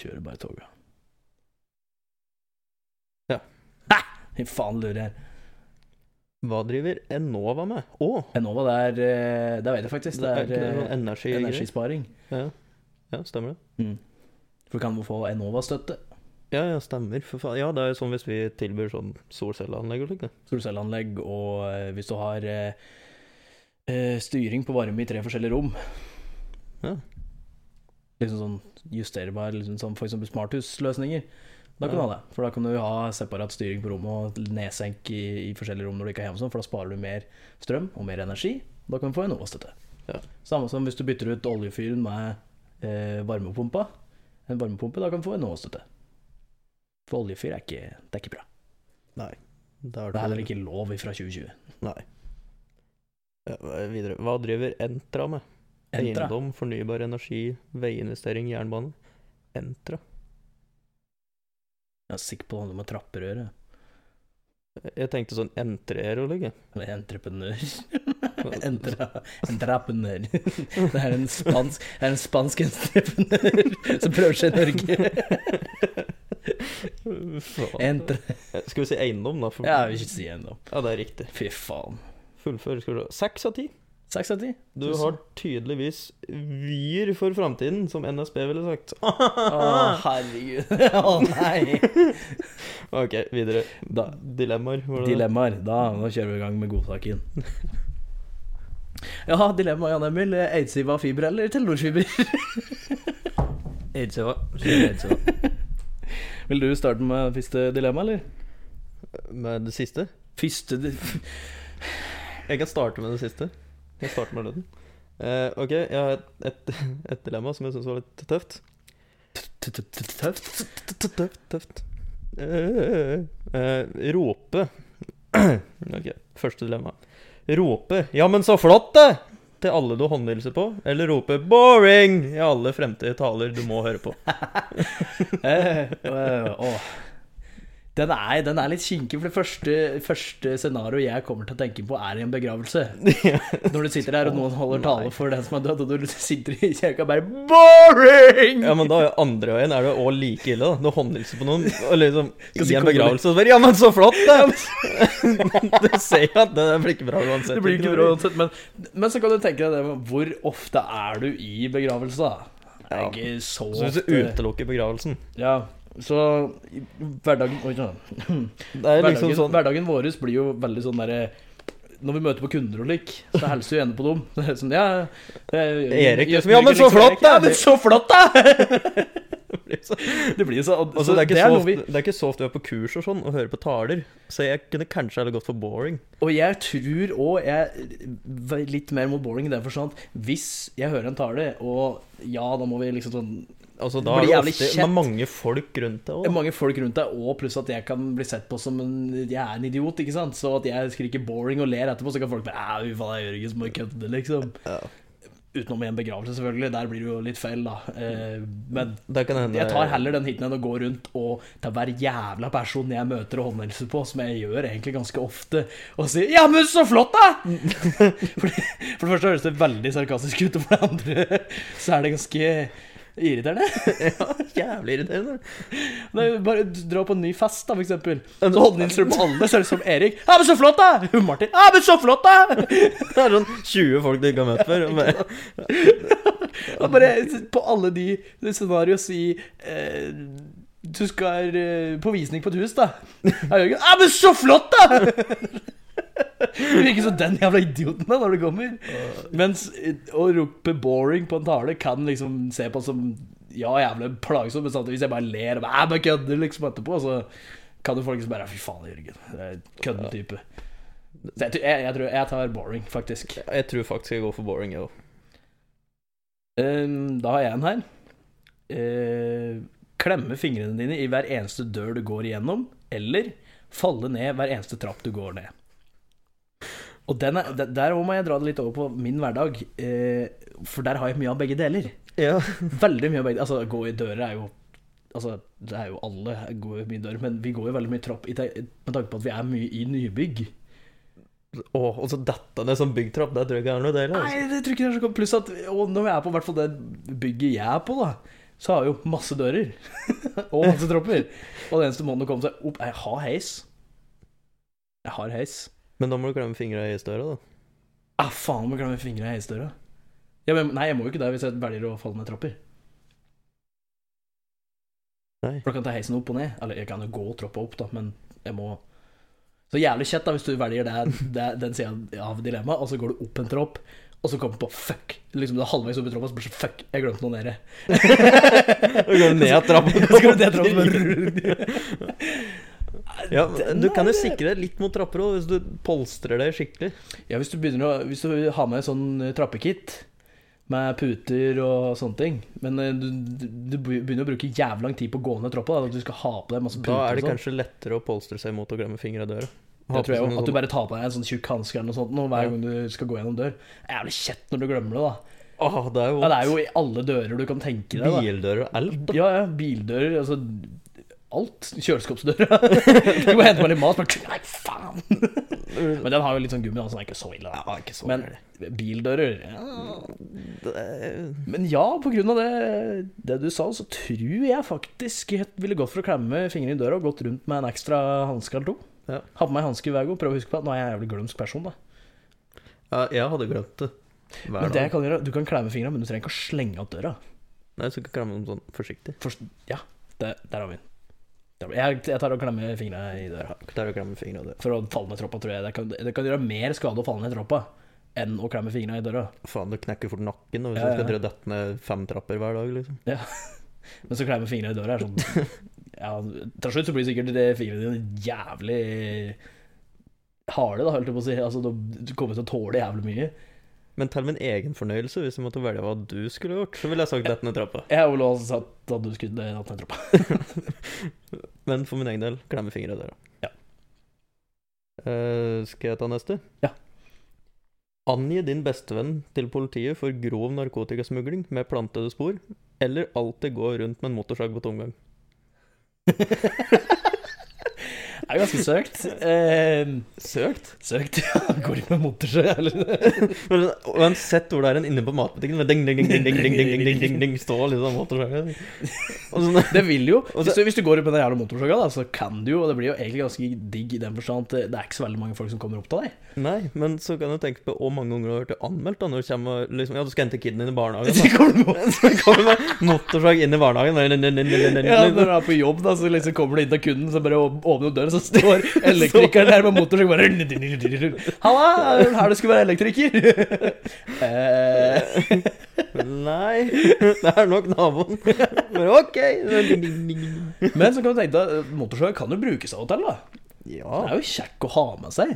Speaker 2: Kjører bare toga.
Speaker 1: Ja.
Speaker 2: Hæ! Fy faen, lurer jeg.
Speaker 1: Hva driver Enova med? Å!
Speaker 2: Enova, det er eh, Det vet jeg faktisk.
Speaker 1: det er ikke
Speaker 2: Det
Speaker 1: det
Speaker 2: er
Speaker 1: sånn
Speaker 2: eh,
Speaker 1: energi, energi.
Speaker 2: energisparing.
Speaker 1: Ja. ja, stemmer det?
Speaker 2: For kan vi få Enova-støtte?
Speaker 1: Ja, ja, stemmer. For faen. Ja, det er jo sånn hvis vi tilbyr sånn solcelleanlegg og slikt. det.
Speaker 2: Solcelleanlegg, og eh, hvis du har eh, eh, styring på varme i tre forskjellige rom
Speaker 1: Ja.
Speaker 2: Liksom sånn justerbar, liksom sånn for eksempel smarthusløsninger. Da
Speaker 1: Ja.
Speaker 2: kan du ha det. For da kan du ha separat styring på rommet og nedsenk i, i forskjellige rom når du ikke er hjemme, og sånn, for da sparer du mer strøm og mer energi. Da kan du få Enova-støtte.
Speaker 1: Ja.
Speaker 2: Samme som hvis du bytter ut oljefyren med eh, varmepumpa. En varmepumpe, da kan du få Enova-støtte. For oljefyr er ikke, det er ikke bra.
Speaker 1: Nei. Det
Speaker 2: Det er heller ikke lov fra 2020.
Speaker 1: Nei. Ja, videre. Hva driver Entra med?
Speaker 2: Entra.
Speaker 1: Eiendom, fornybar energi, veiinvestering, jernbane. Entra.
Speaker 2: Jeg er sikker på det handler om trapperøre.
Speaker 1: Jeg tenkte sånn entreer og ligge.
Speaker 2: Eller entreprenør. Entra, entreprenør. Det er en spansk, det er en spansk entreprenør som prøver seg i Norge. Entre...
Speaker 1: Skal vi si eiendom, da? For...
Speaker 2: Ja, jeg vil ikke si ennå.
Speaker 1: Ja, det er riktig.
Speaker 2: Fy faen.
Speaker 1: Fullfør. Skal du ha. Seks av ti.
Speaker 2: Seks av ti.
Speaker 1: Du
Speaker 2: Tusen.
Speaker 1: har tydeligvis vyer for framtiden, som NSB ville sagt.
Speaker 2: Å,
Speaker 1: Ah.
Speaker 2: herregud. Å, nei.
Speaker 1: OK, videre. Da. Dilemmaer. var det det?
Speaker 2: Dilemmaer. Da, nå kjører vi i gang med godsaken. Ja, dilemma, Jan Emil. Eidsiva fiber eller Telenorfiber?
Speaker 1: Eidsiva. Kjør Eidsiva.
Speaker 2: Vil du starte med første dilemma, eller?
Speaker 1: Med det siste?
Speaker 2: Første di-
Speaker 1: Jeg kan starte med det siste. Jeg starter med lønnen. Eh, OK, jeg har et, et, et dilemma som jeg syns var litt tøft.
Speaker 2: t- t- t- Tøft?
Speaker 1: Tøft, tøft. Eh, eh, rope. ok, første dilemma. Rope 'ja, men så flott', det! til alle du håndhilser på, eller rope 'boring' i alle fremtidige taler du må høre på.
Speaker 2: Eh, eh, åh. Den er, den er litt kinkig, for det første, første scenarioet jeg kommer til å tenke på, er i en begravelse. Når du sitter der og noen holder tale for den som er død, og du sitter i kirka og bare Boring!
Speaker 1: Ja, men da er andre veien er det òg like ille, da. Du håndhilser på noen og liksom i
Speaker 2: Skal si
Speaker 1: en begravelse og bare 'ja, men så flott', det! du ser jo at det der blir ikke bra uansett.
Speaker 2: Det blir ikke bra uansett, men, men så kan du tenke deg det med hvor ofte er du i begravelse, da? Det
Speaker 1: Ja.
Speaker 2: er ikke så
Speaker 1: Så hvis du
Speaker 2: ofte.
Speaker 1: utelukker begravelsen
Speaker 2: Ja, så i- hverdagen Oi, ja.
Speaker 1: Det er liksom
Speaker 2: hverdagen,
Speaker 1: sånn
Speaker 2: hverdagen vår blir jo veldig sånn derre når vi møter på kunder og lik, så hilser vi gjerne på dem. Det er sånn, ja, eh,
Speaker 1: Erik,
Speaker 2: Jøss,
Speaker 1: liksom, ja, men så
Speaker 2: Erik,
Speaker 1: flott, da!
Speaker 2: Ja, men så flott, da! det blir jo så,
Speaker 1: Altså, det, er ikke så
Speaker 2: noe
Speaker 1: ofte,
Speaker 2: vi,
Speaker 1: det er ikke så ofte vi er på kurs og sånn og hører på taler, så jeg kunne kanskje heller gått for boring.
Speaker 2: Og jeg tror òg jeg var Litt mer mot boring i den forstand. Hvis jeg hører en tale, og ja, da må vi liksom sånn
Speaker 1: Altså,
Speaker 2: Det
Speaker 1: da er
Speaker 2: blir
Speaker 1: det
Speaker 2: jævlig
Speaker 1: ofte
Speaker 2: kjent.
Speaker 1: med mange folk rundt deg
Speaker 2: Det er
Speaker 1: òg.
Speaker 2: mange folk rundt deg, og pluss at jeg kan bli sett på som en Jeg er en idiot, ikke sant? Så at jeg skriker 'boring' og ler etterpå, så kan folk bare Æh, hva er Jørgen som har køddet, liksom?
Speaker 1: Ja.
Speaker 2: Utenom i en begravelse, selvfølgelig. Der blir det jo litt feil, da. Eh, Men
Speaker 1: Det kan hende
Speaker 2: jeg tar heller den hiten enn å gå rundt og til hver jævla person jeg møter og håndhilser på, som jeg gjør egentlig ganske ofte, og si 'ja, men så flott, da'! For, for det første høres det veldig sarkastisk ut, og for det andre så er det ganske Irriterende.
Speaker 1: ja, jævlig irriterende.
Speaker 2: Nei, bare dra på en ny fest, da, for eksempel. Så holder den instrument på alle, så er det som Erik. Ja, men så flott, da! Hun Martin. Ja, men så flott, da!
Speaker 1: Det er sånn 20 folk du ikke har møtt før. og bare-
Speaker 2: Og bare på alle de scenarioer si eh, Du skal eh, på visning på et hus, da. Ja, Jørgen. Ja, Ah, men så flott, da! Du virker som den jævla idioten da når du kommer. Mens eh, å rope 'boring' på en tale kan liksom se på som ja, jævlig plagsom, men samtidig hvis jeg bare ler og bare, "Ja, bare kødder liksom etterpå, så kan jo folk liksom bare 'fy faen, Jørgen'. Det er kødden type. Så jeg, tror- jeg, jeg tror jeg tar 'boring', faktisk.
Speaker 1: Jeg tror faktisk jeg går for boring, jeg òg.
Speaker 2: Ehm, da har jeg en her. Ehm, klemme fingrene dine i hver eneste dør du går igjennom, eller falle ned hver eneste trapp du går ned. Og den er, de- Der må jeg dra det litt over på min hverdag, eh, for der har jeg mye av begge deler.
Speaker 1: Ja.
Speaker 2: Veldig mye av begge Altså, gå i dører er jo Altså, det er jo alle går jo mye i dører, men vi går jo veldig mye trapp i te- med tanke på at vi er mye i nybygg.
Speaker 1: Å, og så dette ned sånn byggtrapp. Det tror jeg ikke er noe deilig. Altså.
Speaker 2: Nei, det tror jeg ikke det er så godt. Pluss at og når jeg er på hvert fall det bygget jeg er på, da, så har jeg jo masse dører. og masse tropper. Og det eneste måten å komme seg opp Jeg har heis. Jeg har heis.
Speaker 1: Men da må du klemme fingra i støra, da.
Speaker 2: Ah, faen, må jeg glemme fingrene i heisdøra. Ja, men, nei, jeg må jo ikke det hvis jeg velger å falle ned trapper.
Speaker 1: Nei.
Speaker 2: For da kan jeg ta heisen opp og ned. Eller jeg kan jo gå trappa opp, da, men jeg må Så jævlig kjett da hvis du velger det, det, den sida av dilemmaet, og så går du opp en tropp, og så kommer du på fuck. Liksom Du er halvveis opp i trappa, og så bare så, fuck, jeg glemte noe nede.
Speaker 1: Og går ned trappa.
Speaker 2: Så går du ned trappa og bare-
Speaker 1: Ja, men du kan jo sikre deg litt mot trapper òg, hvis du polstrer deg skikkelig.
Speaker 2: Ja, hvis du begynner å Hvis du har med sånn eh, trappekit med puter og sånne ting. Men eh, du, du du begynner å bruke jævlig lang tid på å gå ned trappa. Da, at du skal ha på deg masse puter
Speaker 1: Da er det
Speaker 2: og sånn.
Speaker 1: kanskje lettere å polstre seg mot å glemme fingra i døra.
Speaker 2: Det tror jeg jo, At du bare tar på deg en sånn tjukk hanske eller noe sånt nå, hver
Speaker 1: Ja.
Speaker 2: gang du skal gå gjennom dør. Jævlig kjett når du glemmer det, da.
Speaker 1: sånn- Åh, det er jo,
Speaker 2: Ja, det er jo i alle dører du kan tenke deg. da
Speaker 1: bildører og alt.
Speaker 2: Ja, ja, bildører, altså alt. Kjøleskapsdøra. Du må hente meg litt mat, bare Nei, faen! Men den har jo litt sånn gummi, da, så den er ikke så ille. da.
Speaker 1: Ja, ikke så
Speaker 2: Men
Speaker 1: gærent.
Speaker 2: bildører ja.
Speaker 1: Det er-
Speaker 2: Men ja, på grunn av det, det du sa, så tror jeg faktisk jeg ville gått for å klemme fingrene i døra og gått rundt med en ekstra hanske eller to.
Speaker 1: Ja.
Speaker 2: Ha på meg hanske hver gang. Prøv å huske på at nå er jeg en jævlig glømsk person, da.
Speaker 1: Ja, jeg hadde glemt det. Hver
Speaker 2: Men det
Speaker 1: dag.
Speaker 2: jeg kan gjøre, du kan klemme fingrene, men du trenger ikke å slenge opp døra.
Speaker 1: Nei, så kan jeg klemme dem sånn forsiktig.
Speaker 2: For, ja, det, der har vi den. Der har vi- Jeg, jeg tar og klemmer fingrene i døra.
Speaker 1: Klarer å klemme fingra i døra.
Speaker 2: for å falle ned troppa, tror jeg. Det kan, det kan gjøre mer skade å falle ned troppa enn å klemme fingra i døra.
Speaker 1: Faen, du knekker fort nakken og hvis
Speaker 2: Ja,
Speaker 1: du skal
Speaker 2: ja.
Speaker 1: drive dette ned fem trapper hver dag, liksom.
Speaker 2: Men så klemme fingra i døra er sånn ja, Til slutt så blir sikkert det fingrene dine jævlig harde, da, holdt jeg på å si. Altså, du- du kommer til å tåle jævlig mye.
Speaker 1: Men til min egen fornøyelse, hvis jeg måtte velge hva du skulle gjort, så ville jeg sagt dette ned trappa.
Speaker 2: Jeg ville også sagt at du skulle hatt ned troppa.
Speaker 1: Men for min egen del, klemme fingra i døra.
Speaker 2: Ja.
Speaker 1: Eh, skal jeg ta neste?
Speaker 2: Ja.
Speaker 1: Angi din bestevenn til politiet for grov narkotikasmugling med plantede spor, eller alltid gå rundt med en motorsag på tomgang.
Speaker 2: Det er ganske søkt. Eh,
Speaker 1: Søkt?
Speaker 2: søkt, ja. Går ikke med motorsjø, eller?
Speaker 1: Men Uansett hvor det er en inne på matbutikken med ding, ding, ding, ding, ding, ding, ding, ding, ding, ding, ding, stå liksom motorsagen. Og sånn,
Speaker 2: Det vil jo.
Speaker 1: Og
Speaker 2: Hvis du, hvis du går opp med den jævla motorsaga, da, så kan du jo, og det blir jo egentlig ganske digg i den forstand at det er ikke så veldig mange folk som kommer opp til deg.
Speaker 1: Nei, men så kan du tenke på hvor mange ganger du har vært anmeldt da, når du kommer og liksom, ja, du skal hente kiden din i barnehagen.
Speaker 2: Så kommer du opp
Speaker 1: Da. Så kommer det med motorsag inn i barnehagen. Ding, ding, ding, ding, ding,
Speaker 2: Ja,
Speaker 1: ding,
Speaker 2: når du er på jobb, da, så liksom kommer du inn til kunden, så bare åp- åpner du døren, så står elektrikeren der med motor, så bare Halla, er det her du skulle være elektriker? eh,
Speaker 1: ding. Nei, det er nok naboen. Men ok. Ding, ding, ding, ding.
Speaker 2: men så kan du tenke deg, motorsag kan jo brukes av og til, da.
Speaker 1: Ja,
Speaker 2: Det er jo kjekk å ha med seg.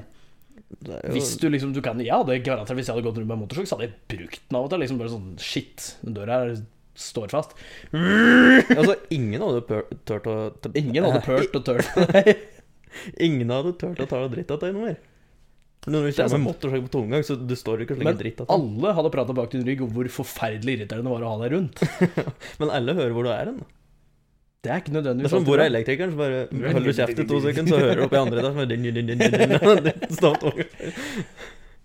Speaker 1: det er jo...
Speaker 2: Hvis du liksom, du kan, ja, det er garantert, hvis jeg hadde gått rundt med motorsag, så hadde jeg brukt den av og til. Liksom bare sånn, shit, den døra her står fast.
Speaker 1: Altså, ingen hadde pør- tørt å...
Speaker 2: Ingen hadde pørt og tørt.
Speaker 1: Ingen hadde tørt å ta noe dritt av deg noe mer. Når du
Speaker 2: er
Speaker 1: kommer
Speaker 2: sant.
Speaker 1: med motorsag på tomgang, så du står ikke og
Speaker 2: Men
Speaker 1: slenger dritt altså. av deg.
Speaker 2: alle hadde pratet bak din rygg om hvor forferdelig irriterende det var å ha deg rundt.
Speaker 1: Men alle hører hvor du er hen.
Speaker 2: Det er ikke
Speaker 1: Det
Speaker 2: nødvendigvis
Speaker 1: er som
Speaker 2: alltid
Speaker 1: hvor
Speaker 2: bra.
Speaker 1: er elektrikeren, så bare holder du kjeft i to sekunder, så hører du opp i andre etasje din, din, din, din, din, din, stamt over.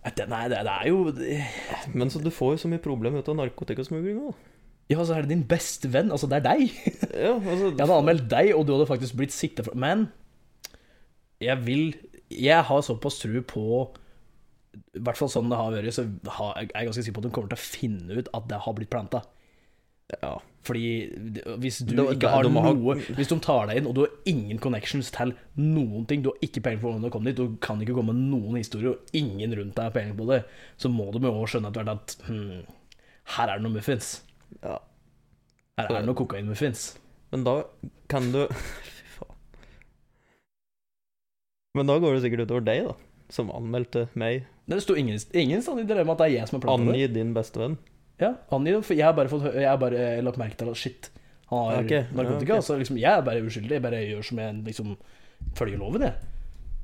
Speaker 2: Nei, det, nei, det, det er jo
Speaker 1: Men så du får jo så mye problemer ut av narkotikasmugling òg.
Speaker 2: Ja, så er det din beste venn. Altså, det er deg. Jeg
Speaker 1: Ja, altså,
Speaker 2: hadde anmeldt deg, og du hadde faktisk blitt sikta for Men jeg vil Jeg har såpass tro på I hvert fall sånn det har vært, så har, jeg er ganske sikker på at hun kommer til å finne ut at det har blitt planta.
Speaker 1: ja.
Speaker 2: Fordi det- hvis du
Speaker 1: Da-
Speaker 2: ikke
Speaker 1: da-
Speaker 2: har
Speaker 1: de har-
Speaker 2: noe Hvis de tar deg inn, og du har ingen connections til noen ting, du har ikke peiling på hvordan du kom dit, du kan ikke komme med noen historier, og ingen rundt deg har peiling på det, så må de jo også skjønne etter hvert at hm, her er det noe muffins.
Speaker 1: ja.
Speaker 2: Her er det noe kokainmuffins.
Speaker 1: Men da kan du Fy faen. Men da går det sikkert utover deg, da. Som anmeldte meg.
Speaker 2: Men Det sto ingen, ingen sånn i dilemma at det er jeg som har planta det.
Speaker 1: Angi din beste venn.
Speaker 2: Ja, angi det. For jeg har bare, fått, hø- jeg har bare eh, lagt merke til at shit, han har
Speaker 1: Ok, ja,
Speaker 2: narkotika.
Speaker 1: ok.
Speaker 2: Så liksom, jeg er bare uskyldig. Jeg bare gjør som jeg liksom følger loven, jeg.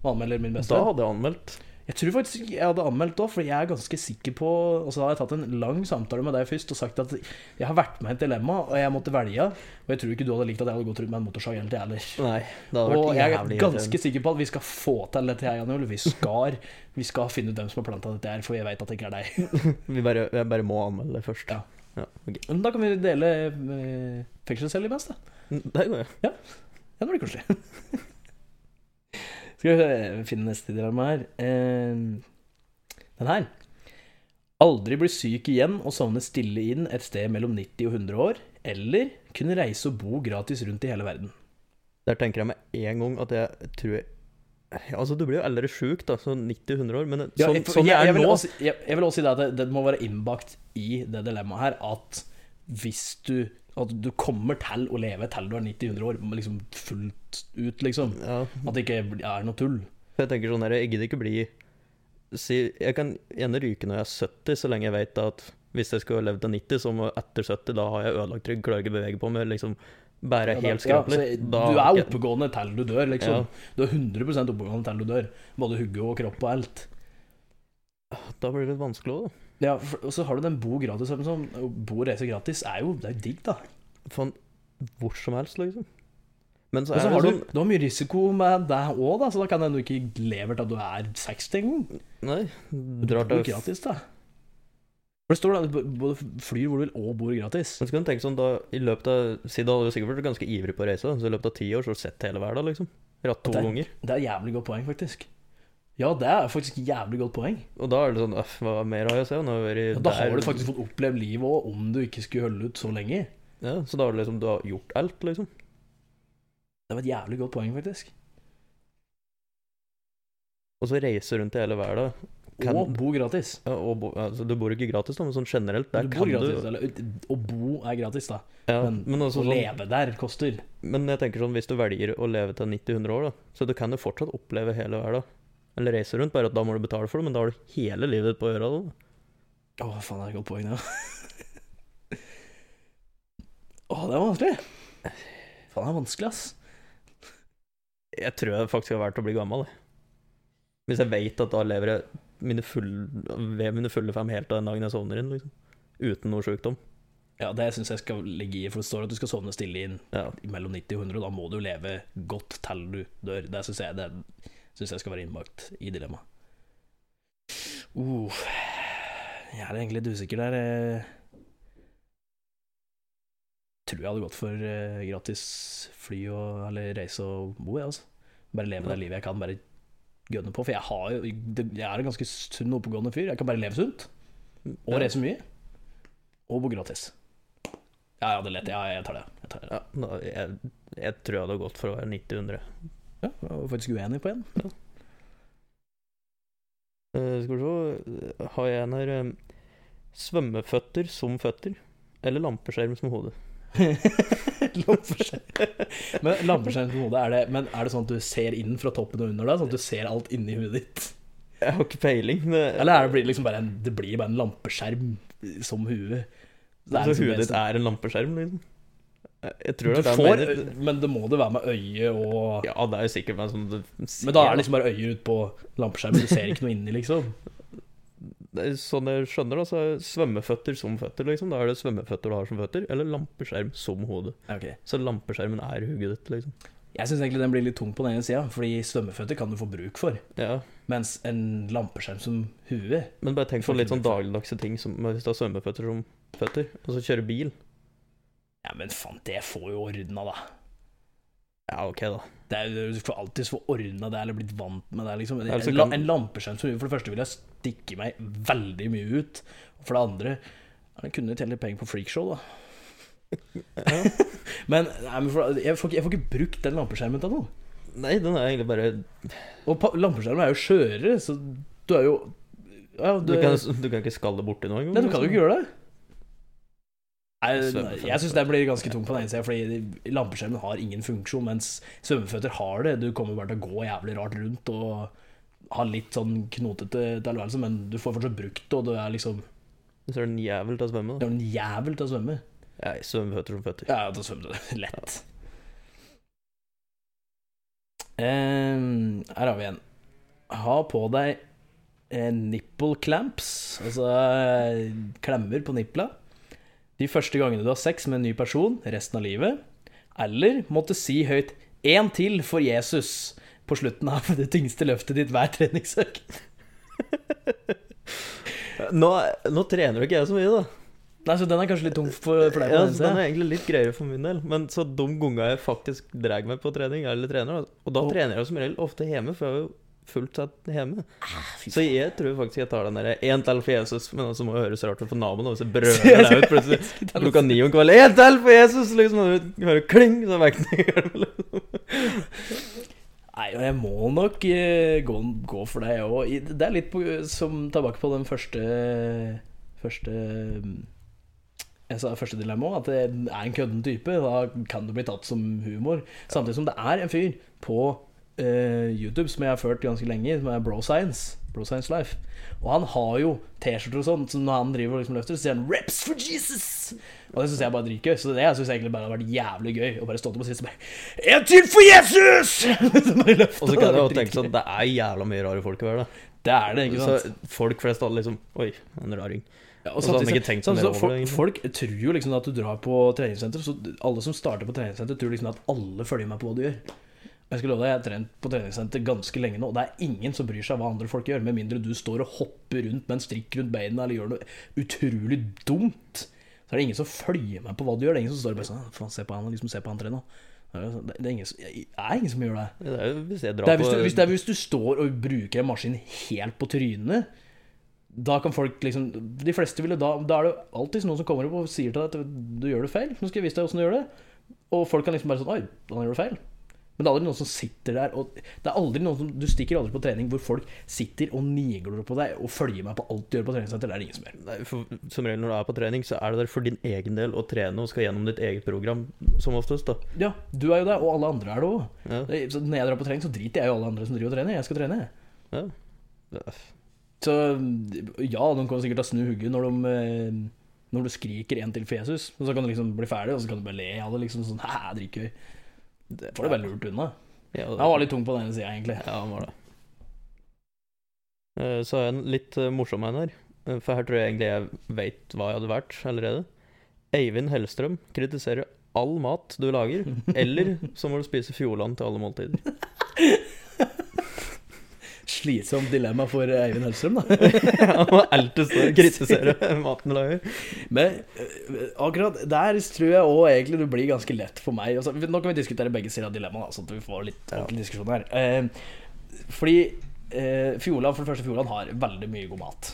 Speaker 2: Og anmelder min beste
Speaker 1: Da
Speaker 2: venn.
Speaker 1: hadde jeg anmeldt.
Speaker 2: Jeg tror faktisk ikke jeg hadde anmeldt òg, for jeg er ganske sikker på Og så har jeg tatt en lang samtale med deg først og sagt at jeg har vært med i et dilemma, og jeg måtte velge. Og jeg tror ikke du hadde likt at jeg hadde gått rundt med en motorsag hele tida heller.
Speaker 1: Nei, det hadde
Speaker 2: Og
Speaker 1: vært
Speaker 2: jeg er
Speaker 1: jævlig
Speaker 2: ganske sikker på at vi skal få til dette her, Jan Ole. Vi skal, vi skal finne ut hvem som har planta dette her, for jeg veit at det ikke er deg.
Speaker 1: irriterende. Vi bare, jeg bare må anmelde det først.
Speaker 2: Ja.
Speaker 1: ja ok.
Speaker 2: Men da kan vi dele eh, fengselscelle imens, da.
Speaker 1: Der går jeg.
Speaker 2: Ja, det blir koselig. Skal vi se, finne neste dilemma her. Eh, den her. Aldri bli syk igjen og sovne stille inn et sted mellom 90 og 100 år, eller kunne reise og bo gratis rundt i hele verden.
Speaker 1: Der tenker jeg med en gang at jeg tror jeg Ja, Altså, du blir jo eldre sjuk, da, sånn 90-100 år, men sånn,
Speaker 2: jeg,
Speaker 1: sånn jeg,
Speaker 2: jeg,
Speaker 1: er
Speaker 2: jeg vil
Speaker 1: nå
Speaker 2: Også, jeg, jeg vil også si det at det, det må være innbakt i det dilemmaet her at hvis du at du kommer til å leve til du er 90-100 år, liksom fullt ut, liksom.
Speaker 1: ja,
Speaker 2: At det ikke er noe tull.
Speaker 1: for Jeg tenker sånn her, jeg gidder ikke bli si, Jeg kan gjerne ryke når jeg er 70, så lenge jeg vet da at hvis jeg skulle ha levd til 90, så må etter 70, da har jeg ødelagt rygg, klarer ikke å bevege på meg, liksom bære
Speaker 2: Ja, da-
Speaker 1: helt skrapelig.
Speaker 2: ja, så
Speaker 1: Da
Speaker 2: du
Speaker 1: har
Speaker 2: er
Speaker 1: ikke-
Speaker 2: oppegående til du dør, liksom.
Speaker 1: Ja.
Speaker 2: Du er 100 oppegående til du dør. Både hugge og kropp og alt.
Speaker 1: Da blir det litt vanskelig òg, da.
Speaker 2: Ja, for, og så har du den bo gratis. Som, som, å bo og reise gratis er jo, det er jo digg, da.
Speaker 1: Faen, hvor som helst, liksom. Men så
Speaker 2: Og
Speaker 1: er
Speaker 2: så
Speaker 1: det
Speaker 2: har du,
Speaker 1: sånn
Speaker 2: du har mye risiko med deg òg, da, så da kan det hende du ikke lever til du er 60 engang.
Speaker 1: Nei,
Speaker 2: Du
Speaker 1: drar
Speaker 2: bor
Speaker 1: til
Speaker 2: gratis, da. For det står da, du b- både flyr hvor du vil og bor gratis.
Speaker 1: Men så kan du tenke sånn, da, i løpet av, si da hadde du sikkert vært ganske ivrig på å reise, da. så i løpet av ti år så har du sett hele verden, liksom. Ratt to
Speaker 2: Det er-
Speaker 1: ganger.
Speaker 2: Det er jævlig godt poeng, faktisk. Ja, det er faktisk jævlig godt poeng.
Speaker 1: Og da er det sånn, øff, hva mer har jeg å se? Nå har jeg vært i-
Speaker 2: Ja, da
Speaker 1: der-
Speaker 2: har du faktisk fått opplevd livet òg, om du ikke skulle holde ut så lenge.
Speaker 1: Ja, så da har du liksom, du har gjort alt, liksom.
Speaker 2: Det var et jævlig godt poeng, faktisk.
Speaker 1: Og så reise rundt i hele verden. Kan-
Speaker 2: Og bo gratis.
Speaker 1: Ja, og bo, altså, du bor ikke gratis da, men sånn generelt, der
Speaker 2: du bor
Speaker 1: kan
Speaker 2: gratis,
Speaker 1: du...
Speaker 2: eller, Å bo er gratis, da.
Speaker 1: Ja,
Speaker 2: men-
Speaker 1: men,
Speaker 2: Å
Speaker 1: altså, sånn,
Speaker 2: leve der koster.
Speaker 1: men jeg tenker sånn, hvis du velger å leve til 90-100 år da, så du kan jo fortsatt oppleve hele verden. Eller reise rundt, bare at da må du betale for det, men da har du hele livet ditt på å gjøre det. da.
Speaker 2: Å, faen, det er et godt poeng, det. Å, det er vanskelig. Faen, det er vanskelig, ass.
Speaker 1: Jeg tror jeg faktisk har valgt å bli gammel. jeg. Hvis jeg veit at da lever jeg mine fulle, ved mine fulle fem helt av den dagen jeg sovner inn. liksom. Uten noe sjukdom.
Speaker 2: Ja, det syns jeg skal ligge i, for det står at du skal sovne stille inn
Speaker 1: Ja.
Speaker 2: mellom 90 og 100, og da må du leve godt til du dør. Det syns jeg, det synes jeg skal være innbakt i dilemmaet. Uh, jeg er egentlig litt usikker der. eh. Tror jeg hadde gått for eh, gratis fly og eller reise og bo, jeg, altså. Bare leve det livet jeg kan, bare gønne på. For jeg, har jo, jeg er en ganske sunn, oppegående fyr. Jeg kan bare leve sunt, og
Speaker 1: Ja.
Speaker 2: reise mye, og bo gratis. Ja, ja, det er lett. Ja, jeg tar det. Jeg tar det.
Speaker 1: Ja, da, jeg, jeg tror jeg hadde gått for å være 90-100.
Speaker 2: Ja, jeg var faktisk uenig på en.
Speaker 1: Eh, skal vi se Har jeg en her eh, Svømmeføtter som føtter? Eller lampeskjerm som hode?
Speaker 2: Lampeskjerm. Men lampeskjerm på hodet, er det, men er det sånn at du ser inn fra toppen og under deg? Sånn at du ser alt inni huet ditt?
Speaker 1: Jeg har ikke peiling. men-
Speaker 2: Eller er det, blir det liksom bare en, det blir bare en lampeskjerm som hue? Det er
Speaker 1: så
Speaker 2: liksom
Speaker 1: huet
Speaker 2: det
Speaker 1: ditt
Speaker 2: som-
Speaker 1: er en lampeskjerm, liksom? Jeg, jeg tror
Speaker 2: Du
Speaker 1: det er det jeg
Speaker 2: får,
Speaker 1: mener.
Speaker 2: men det må det være med øye og
Speaker 1: Ja, det er jo sikkert sånn meg som du
Speaker 2: Men da er det liksom bare øyet ut på lampeskjermen, du ser ikke noe inni, liksom.
Speaker 1: Det er Sånn jeg skjønner, da, så er svømmeføtter som føtter, liksom. Da er det svømmeføtter du har som føtter, eller lampeskjerm som hode.
Speaker 2: Ok.
Speaker 1: Så lampeskjermen er hodet ditt, liksom.
Speaker 2: Jeg syns egentlig den blir litt tung på den ene sida, fordi svømmeføtter kan du få bruk for.
Speaker 1: Ja.
Speaker 2: Mens en lampeskjerm som hue
Speaker 1: Men bare tenk på litt sånn dagligdagse ting som hvis du har svømmeføtter som føtter, og så kjøre bil.
Speaker 2: Ja, men faen, det får jo ordna, da.
Speaker 1: Ja, OK, da.
Speaker 2: Det er, jo- du får alltids få ordna det, eller blitt vant med det, liksom. En,
Speaker 1: Eller så
Speaker 2: en, la-
Speaker 1: kan-
Speaker 2: en lampeskjerm som For det første vil jeg stikke meg veldig mye ut. Og for det andre ja, Jeg kunne tjent litt penger på freakshow, da. men nei, men for, jeg, får, ikke- jeg får ikke brukt den lampeskjermen til noe.
Speaker 1: Nei, den er egentlig bare
Speaker 2: Og pa- lampeskjermen er jo skjørere, så du er jo ja,
Speaker 1: Du kan, du kan ikke skalle borti noe engang?
Speaker 2: Nei, du kan jo ikke gjøre det. Nei,
Speaker 1: Svømmeføtter.
Speaker 2: jeg syns den blir ganske tung på den ene sida, fordi lampeskjermen har ingen funksjon, mens svømmeføtter har det. Du kommer bare til å gå jævlig rart rundt og ha litt sånn knotete tilværelse, men du får fortsatt brukt det, og du er liksom
Speaker 1: Så er det en jævel til å svømme.
Speaker 2: Du
Speaker 1: da.
Speaker 2: er en jævel til å svømme.
Speaker 1: Nei, svømmeføtter som føtter.
Speaker 2: Ja, da svømmer du lett. Ehm, her har vi en. Ha på deg eh, nipple clamps, altså eh, klemmer på nipla, de første gangene du har sex med en ny person resten av livet, eller måtte si høyt én til for Jesus på slutten av det tyngste løftet ditt hver treningsøkt.
Speaker 1: Nå, nå trener jo ikke jeg så mye, da.
Speaker 2: Nei, så den er kanskje litt tung for, for deg? på
Speaker 1: Ja,
Speaker 2: den
Speaker 1: så den
Speaker 2: siden.
Speaker 1: er egentlig litt greiere for min del. Men så de gangene jeg faktisk drar meg på trening, eller trener, da, og da
Speaker 2: Og-
Speaker 1: trener jeg som regel ofte hjemme, for jeg er jo fullt sett hjemme. Så jeg tror faktisk jeg tar den derre én til for Jesus, men altså må det høres rart ut for naboen, og hvis jeg brøler deg ut plutselig klokka ni om kvelden Én til for Jesus! Liksom, og du hører kling, så vekter den.
Speaker 2: Nei, og jeg må nok eh, gå, gå for deg òg. Det er litt på, som tilbake på den første Første mm, Jeg sa første dilemma at det er en kødden type. Da kan det bli tatt som humor. Samtidig som det er en fyr på eh, YouTube som jeg har ført ganske lenge, som er Bro Science. Bro Science Life. Og han har jo T-skjorter og sånn, så når han driver og liksom løfter, så sier han 'Reps for Jesus'! Og det syns jeg bare er dritgøy. Så det syns jeg egentlig bare har vært jævlig gøy. Å bare stå opp og si sånn bare 'En til for Jesus!'
Speaker 1: Og så kan jeg jo tenke sånn, det er jævla mye rare folk i verden.
Speaker 2: Det er det, ikke sant?
Speaker 1: Så folk flest hadde liksom Oi, en raring.
Speaker 2: Ja,
Speaker 1: Og så hadde de ikke tenkt så
Speaker 2: samtidig
Speaker 1: mye
Speaker 2: som
Speaker 1: over det,
Speaker 2: fol- Folk tror jo liksom at du drar på treningssenter, så alle som starter på treningssenter, tror liksom at alle følger med på hva du gjør. Og Jeg skal love deg, jeg har trent på treningssenter ganske lenge nå, og det er ingen som bryr seg hva andre folk gjør, med mindre du står og hopper rundt med en strikk rundt beina eller gjør noe utrolig dumt. Så er det ingen som følger med på hva du gjør. Det er ingen som står og bare sånn «Ah, Faen, se på han, og liksom se på han trene. Det er, sånn, det er, ingen, som- det er ingen som gjør det.
Speaker 1: Det er jo hvis jeg
Speaker 2: Det
Speaker 1: drar
Speaker 2: er hvis, du, hvis, det
Speaker 1: på
Speaker 2: er hvis du står og bruker en maskin helt på trynet, da kan folk liksom De fleste ville da Da er det jo alltid noen som kommer opp og sier til deg at du gjør det feil. Nå skal jeg vise deg åssen du gjør det. Og folk kan liksom bare sånn Oi, han gjør det feil. Men det er aldri noen som sitter der og Det er aldri noen som Du stikker aldri på trening hvor folk sitter og nigler på deg og følger med på alt du gjør på treningssenter. Det er det ingen som gjør.
Speaker 1: Nei, for, Som regel når du er på trening, så er det der for din egen del å trene og skal gjennom ditt eget program, som oftest, da.
Speaker 2: Ja, du er jo det, og alle andre er det òg.
Speaker 1: Ja,
Speaker 2: Så Når jeg drar på trening, så driter jeg i alle andre som driver og trener. Jeg skal trene, jeg.
Speaker 1: ja. Det-
Speaker 2: Så ja, de kommer sikkert til å snu hugget når de eh, når du skriker en til for Jesus, og så kan du liksom bli ferdig, og så kan du bare le av det. liksom sånn, Hæ, dritgøy. Får det veldig lurt unna.
Speaker 1: Ja, det-
Speaker 2: Jeg var litt tung på den ene sida, egentlig.
Speaker 1: Ja, han var det. Eh, Så har jeg en litt eh, morsom en her. Eh, For her tror jeg egentlig jeg veit hva jeg hadde vært allerede. Eivind Hellstrøm kritiserer all mat du lager, eller så må du spise Fjordland til alle måltider.
Speaker 2: Slitsomt dilemma for eh, Eivind Hellstrøm, da.
Speaker 1: Han må alltid stå og kritisere maten du lager.
Speaker 2: Men eh, akkurat der tror jeg òg egentlig det blir ganske lett for meg. Altså, nå kan vi diskutere begge sider av dilemmaet, da, sånn at vi får litt ordentlig diskusjon her. Eh, fordi eh, Fjordland, for det første, Fjordland har veldig mye god mat.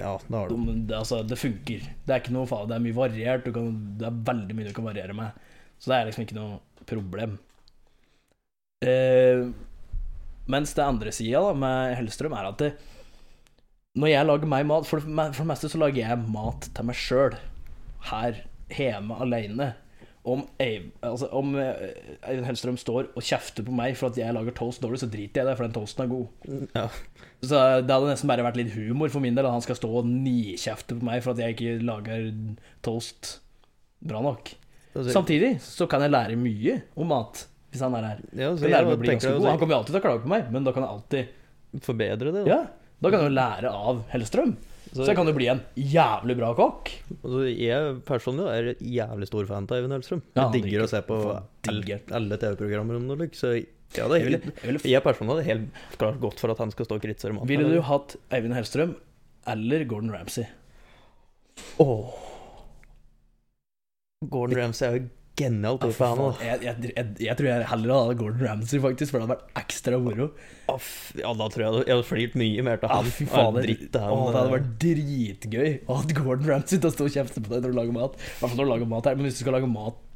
Speaker 1: Ja, det har
Speaker 2: De, det, altså, det funker. Det er ikke noe farlig. Det er mye variert. Du kan, det er veldig mye du kan variere med. Så det er liksom ikke noe problem. Eh, mens det andre sida med Hellstrøm er at det, når jeg lager meg mat For det, me- for det meste så lager jeg mat til meg sjøl. Her hjemme aleine. Om, Eiv- altså, om eh, Eivind Hellstrøm står og kjefter på meg for at jeg lager toast dårlig, så driter jeg i det, for den toasten er god.
Speaker 1: Ja.
Speaker 2: Så det hadde nesten bare vært litt humor for min del at han skal stå og nikjefte på meg for at jeg ikke lager toast bra nok.
Speaker 1: Altså,
Speaker 2: Samtidig så kan jeg lære mye om mat hvis han er her.
Speaker 1: ja, så
Speaker 2: Jeg kan lære meg å
Speaker 1: Altså, jeg
Speaker 2: bli
Speaker 1: tenker
Speaker 2: ganske
Speaker 1: å
Speaker 2: god. Han
Speaker 1: si,
Speaker 2: kommer jo alltid til å klage på meg, men da kan jeg alltid
Speaker 1: forbedre det. Da.
Speaker 2: Ja, da kan jeg jo lære av Hellstrøm. Så jeg kan jo bli en jævlig bra kokk.
Speaker 1: Altså, jeg personlig er jævlig stor fan av Eivind Hellstrøm.
Speaker 2: Ja,
Speaker 1: Jeg
Speaker 2: han
Speaker 1: digger
Speaker 2: drikker.
Speaker 1: å se på
Speaker 2: Han digger.
Speaker 1: alle alle TV-programmer om noe lykke, så ja, det er
Speaker 2: Jeg ville- jeg ville-
Speaker 1: helt, jeg personlig hadde helt klart gått for at han skal stå og kritisere maten.
Speaker 2: Ville du hatt Eivind Hellstrøm eller Gordon Ramsay?
Speaker 1: Åh. Gordon Ramsay er jo genial
Speaker 2: Ja,
Speaker 1: type,
Speaker 2: for
Speaker 1: han
Speaker 2: faen,
Speaker 1: òg.
Speaker 2: jeg, jeg, jeg, jeg tror jeg heller hadde hatt Gordon Ramsay, faktisk, for det hadde vært ekstra moro.
Speaker 1: Å, fy- Ja, da tror jeg jeg hadde flirt mye mer til
Speaker 2: Ja,
Speaker 1: han.
Speaker 2: fy
Speaker 1: Ja,
Speaker 2: fader.
Speaker 1: Dritt til
Speaker 2: Å,
Speaker 1: han. eh,
Speaker 2: det hadde vært dritgøy å ha Gordon Ramsay til å stå og kjefte på deg når du lager mat. I hvert fall når du lager mat her, men hvis du skal lage mat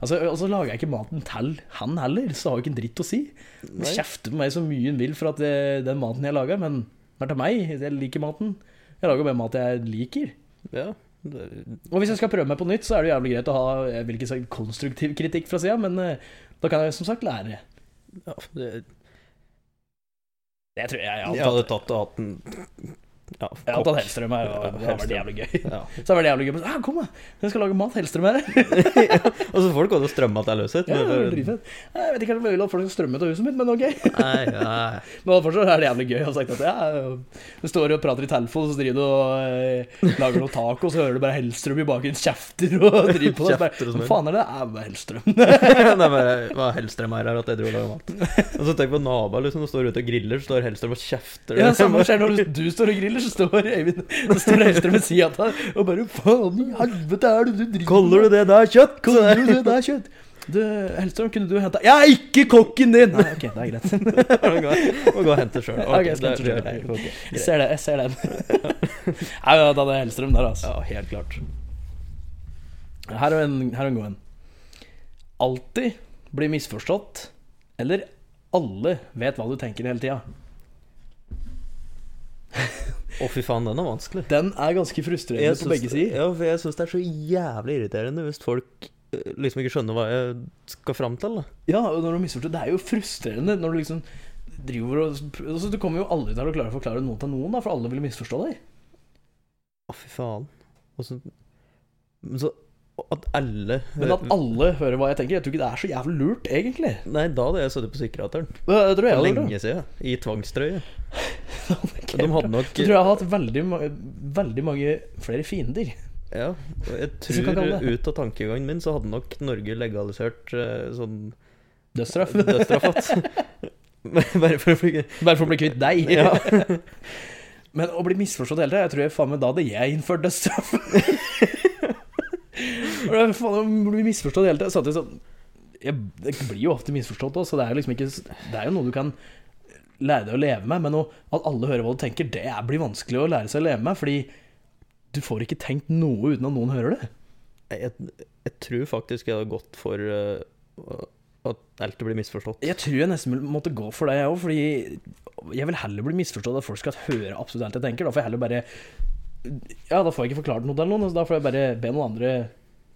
Speaker 2: Altså, altså lager jeg ikke maten til han heller, så har jo ikke en dritt å si. Han
Speaker 1: eh, Nei.
Speaker 2: kjefter på meg så mye han vil for at det, den maten jeg lager, men den er til meg. Jeg liker maten. Jeg lager bare mat jeg liker.
Speaker 1: Ja, det-
Speaker 2: Og hvis jeg skal prøve meg på nytt, så er det jo jævlig greit å ha jeg vil ikke si konstruktiv kritikk fra sida, men eh, da kan jeg som sagt lære.
Speaker 1: ja, det,
Speaker 2: Jeg tror jeg, jeg,
Speaker 1: jeg
Speaker 2: hadde
Speaker 1: hadde tatt
Speaker 2: tatt-
Speaker 1: og hatt en Ja,
Speaker 2: jeg hadde
Speaker 1: kokk.
Speaker 2: tatt Hellstrøm her,
Speaker 1: Ja,
Speaker 2: og det hadde vært
Speaker 1: Hellstrøm.
Speaker 2: jævlig gøy.
Speaker 1: Ja.
Speaker 2: Så det hadde vært jævlig gøy, men ah, kom da, jeg skal lage mat, Hellstrøm her.
Speaker 1: Og så folk hadde strømma til løshet.
Speaker 2: Ja, det var dritfett. Jeg vet ikke om jeg vil at folk skal strømme ut av huset mitt, men ok.
Speaker 1: Nei, nei.
Speaker 2: Men fortsatt er det jævlig gøy å ha sagt at ja, du står og prater i telefonen, så driver du og eh, lager noe taco, så hører du bare Hellstrøm i bakgrunnen kjefter og driver på det.
Speaker 1: Kjefter og
Speaker 2: Bare,
Speaker 1: smør.
Speaker 2: Hva faen er det? Ja, bare Hellstrøm.
Speaker 1: det er bare hva Hellstrøm er her, at jeg dro og laga mat. Og så tenk på naboen liksom, som står ute og griller, så står Hellstrøm og kjefter.
Speaker 2: Ja, samme skjer når du, du står og griller, så står Eivind så står Hellstrøm ved sida av deg og bare Faen i helvete er det du driver
Speaker 1: Kaller du det der kjøtt?
Speaker 2: Kaller du det der kjøtt? Du, Hellstrøm, kunne du henta Jeg er ikke kokken din! Nei, ok, det er greit.
Speaker 1: Og gå- og gå og hente sjøl.
Speaker 2: Ok, jeg skal hente selv. Jeg ser det, jeg ser den. Nei, ja, da er det Hellstrøm der, altså.
Speaker 1: Ja, helt klart.
Speaker 2: Her er en, her er en god en. Alltid bli misforstått, eller alle vet hva du tenker hele tida.
Speaker 1: Å, fy faen, den er vanskelig.
Speaker 2: Den er ganske frustrerende
Speaker 1: Jeg
Speaker 2: på begge
Speaker 1: syns-
Speaker 2: sider.
Speaker 1: Ja, for jeg syns det er så jævlig irriterende hvis folk eh, liksom ikke skjønner hva jeg skal fram til. da.
Speaker 2: Ja, og når du misforstår Det er jo frustrerende når du liksom driver og altså, Du kommer jo aldri til å klare å forklare noe til noen, da, for alle vil misforstå deg.
Speaker 1: Å, fy faen. Og så, men så At alle
Speaker 2: Men at alle hører hva jeg tenker, jeg tror ikke det er så jævlig lurt, egentlig.
Speaker 1: Nei, da hadde jeg sittet på psykiateren.
Speaker 2: Det tror
Speaker 1: For
Speaker 2: jeg hadde gjort,
Speaker 1: lenge siden. I tvangstrøye.
Speaker 2: da.
Speaker 1: De hadde nok
Speaker 2: Så tror jeg jeg har hatt veldig, ma- veldig mange flere fiender.
Speaker 1: Ja, og jeg
Speaker 2: Hvis du kan
Speaker 1: tror
Speaker 2: kalle det.
Speaker 1: ut av tankegangen min så hadde nok Norge legalisert eh, sånn
Speaker 2: Dødsstraff.
Speaker 1: dødsstraff igjen. Bare for å bli
Speaker 2: Bare for å bli kvitt deg.
Speaker 1: Ja.
Speaker 2: Men å bli misforstått hele tida Jeg tror jeg faen meg da hadde jeg innført dødsstraff. Og det er faen å bli misforstått hele tida. Samtidig så sånn, jeg, jeg blir jo ofte misforstått også, så det er jo liksom ikke Det er jo noe du kan lære deg å leve med, men å, at alle hører hva du tenker, det er- blir vanskelig å lære seg å leve med, fordi du får ikke tenkt noe uten at noen hører det.
Speaker 1: jeg, jeg tror faktisk jeg hadde gått for eh, at alt blir misforstått.
Speaker 2: Jeg tror jeg nesten vil- måtte gå for det, jeg òg. Fordi jeg vil heller bli misforstått at folk skal høre absolutt alt jeg tenker. Da får jeg heller bare Ja, da får jeg ikke forklart noe til noen. Så da får jeg bare be noen andre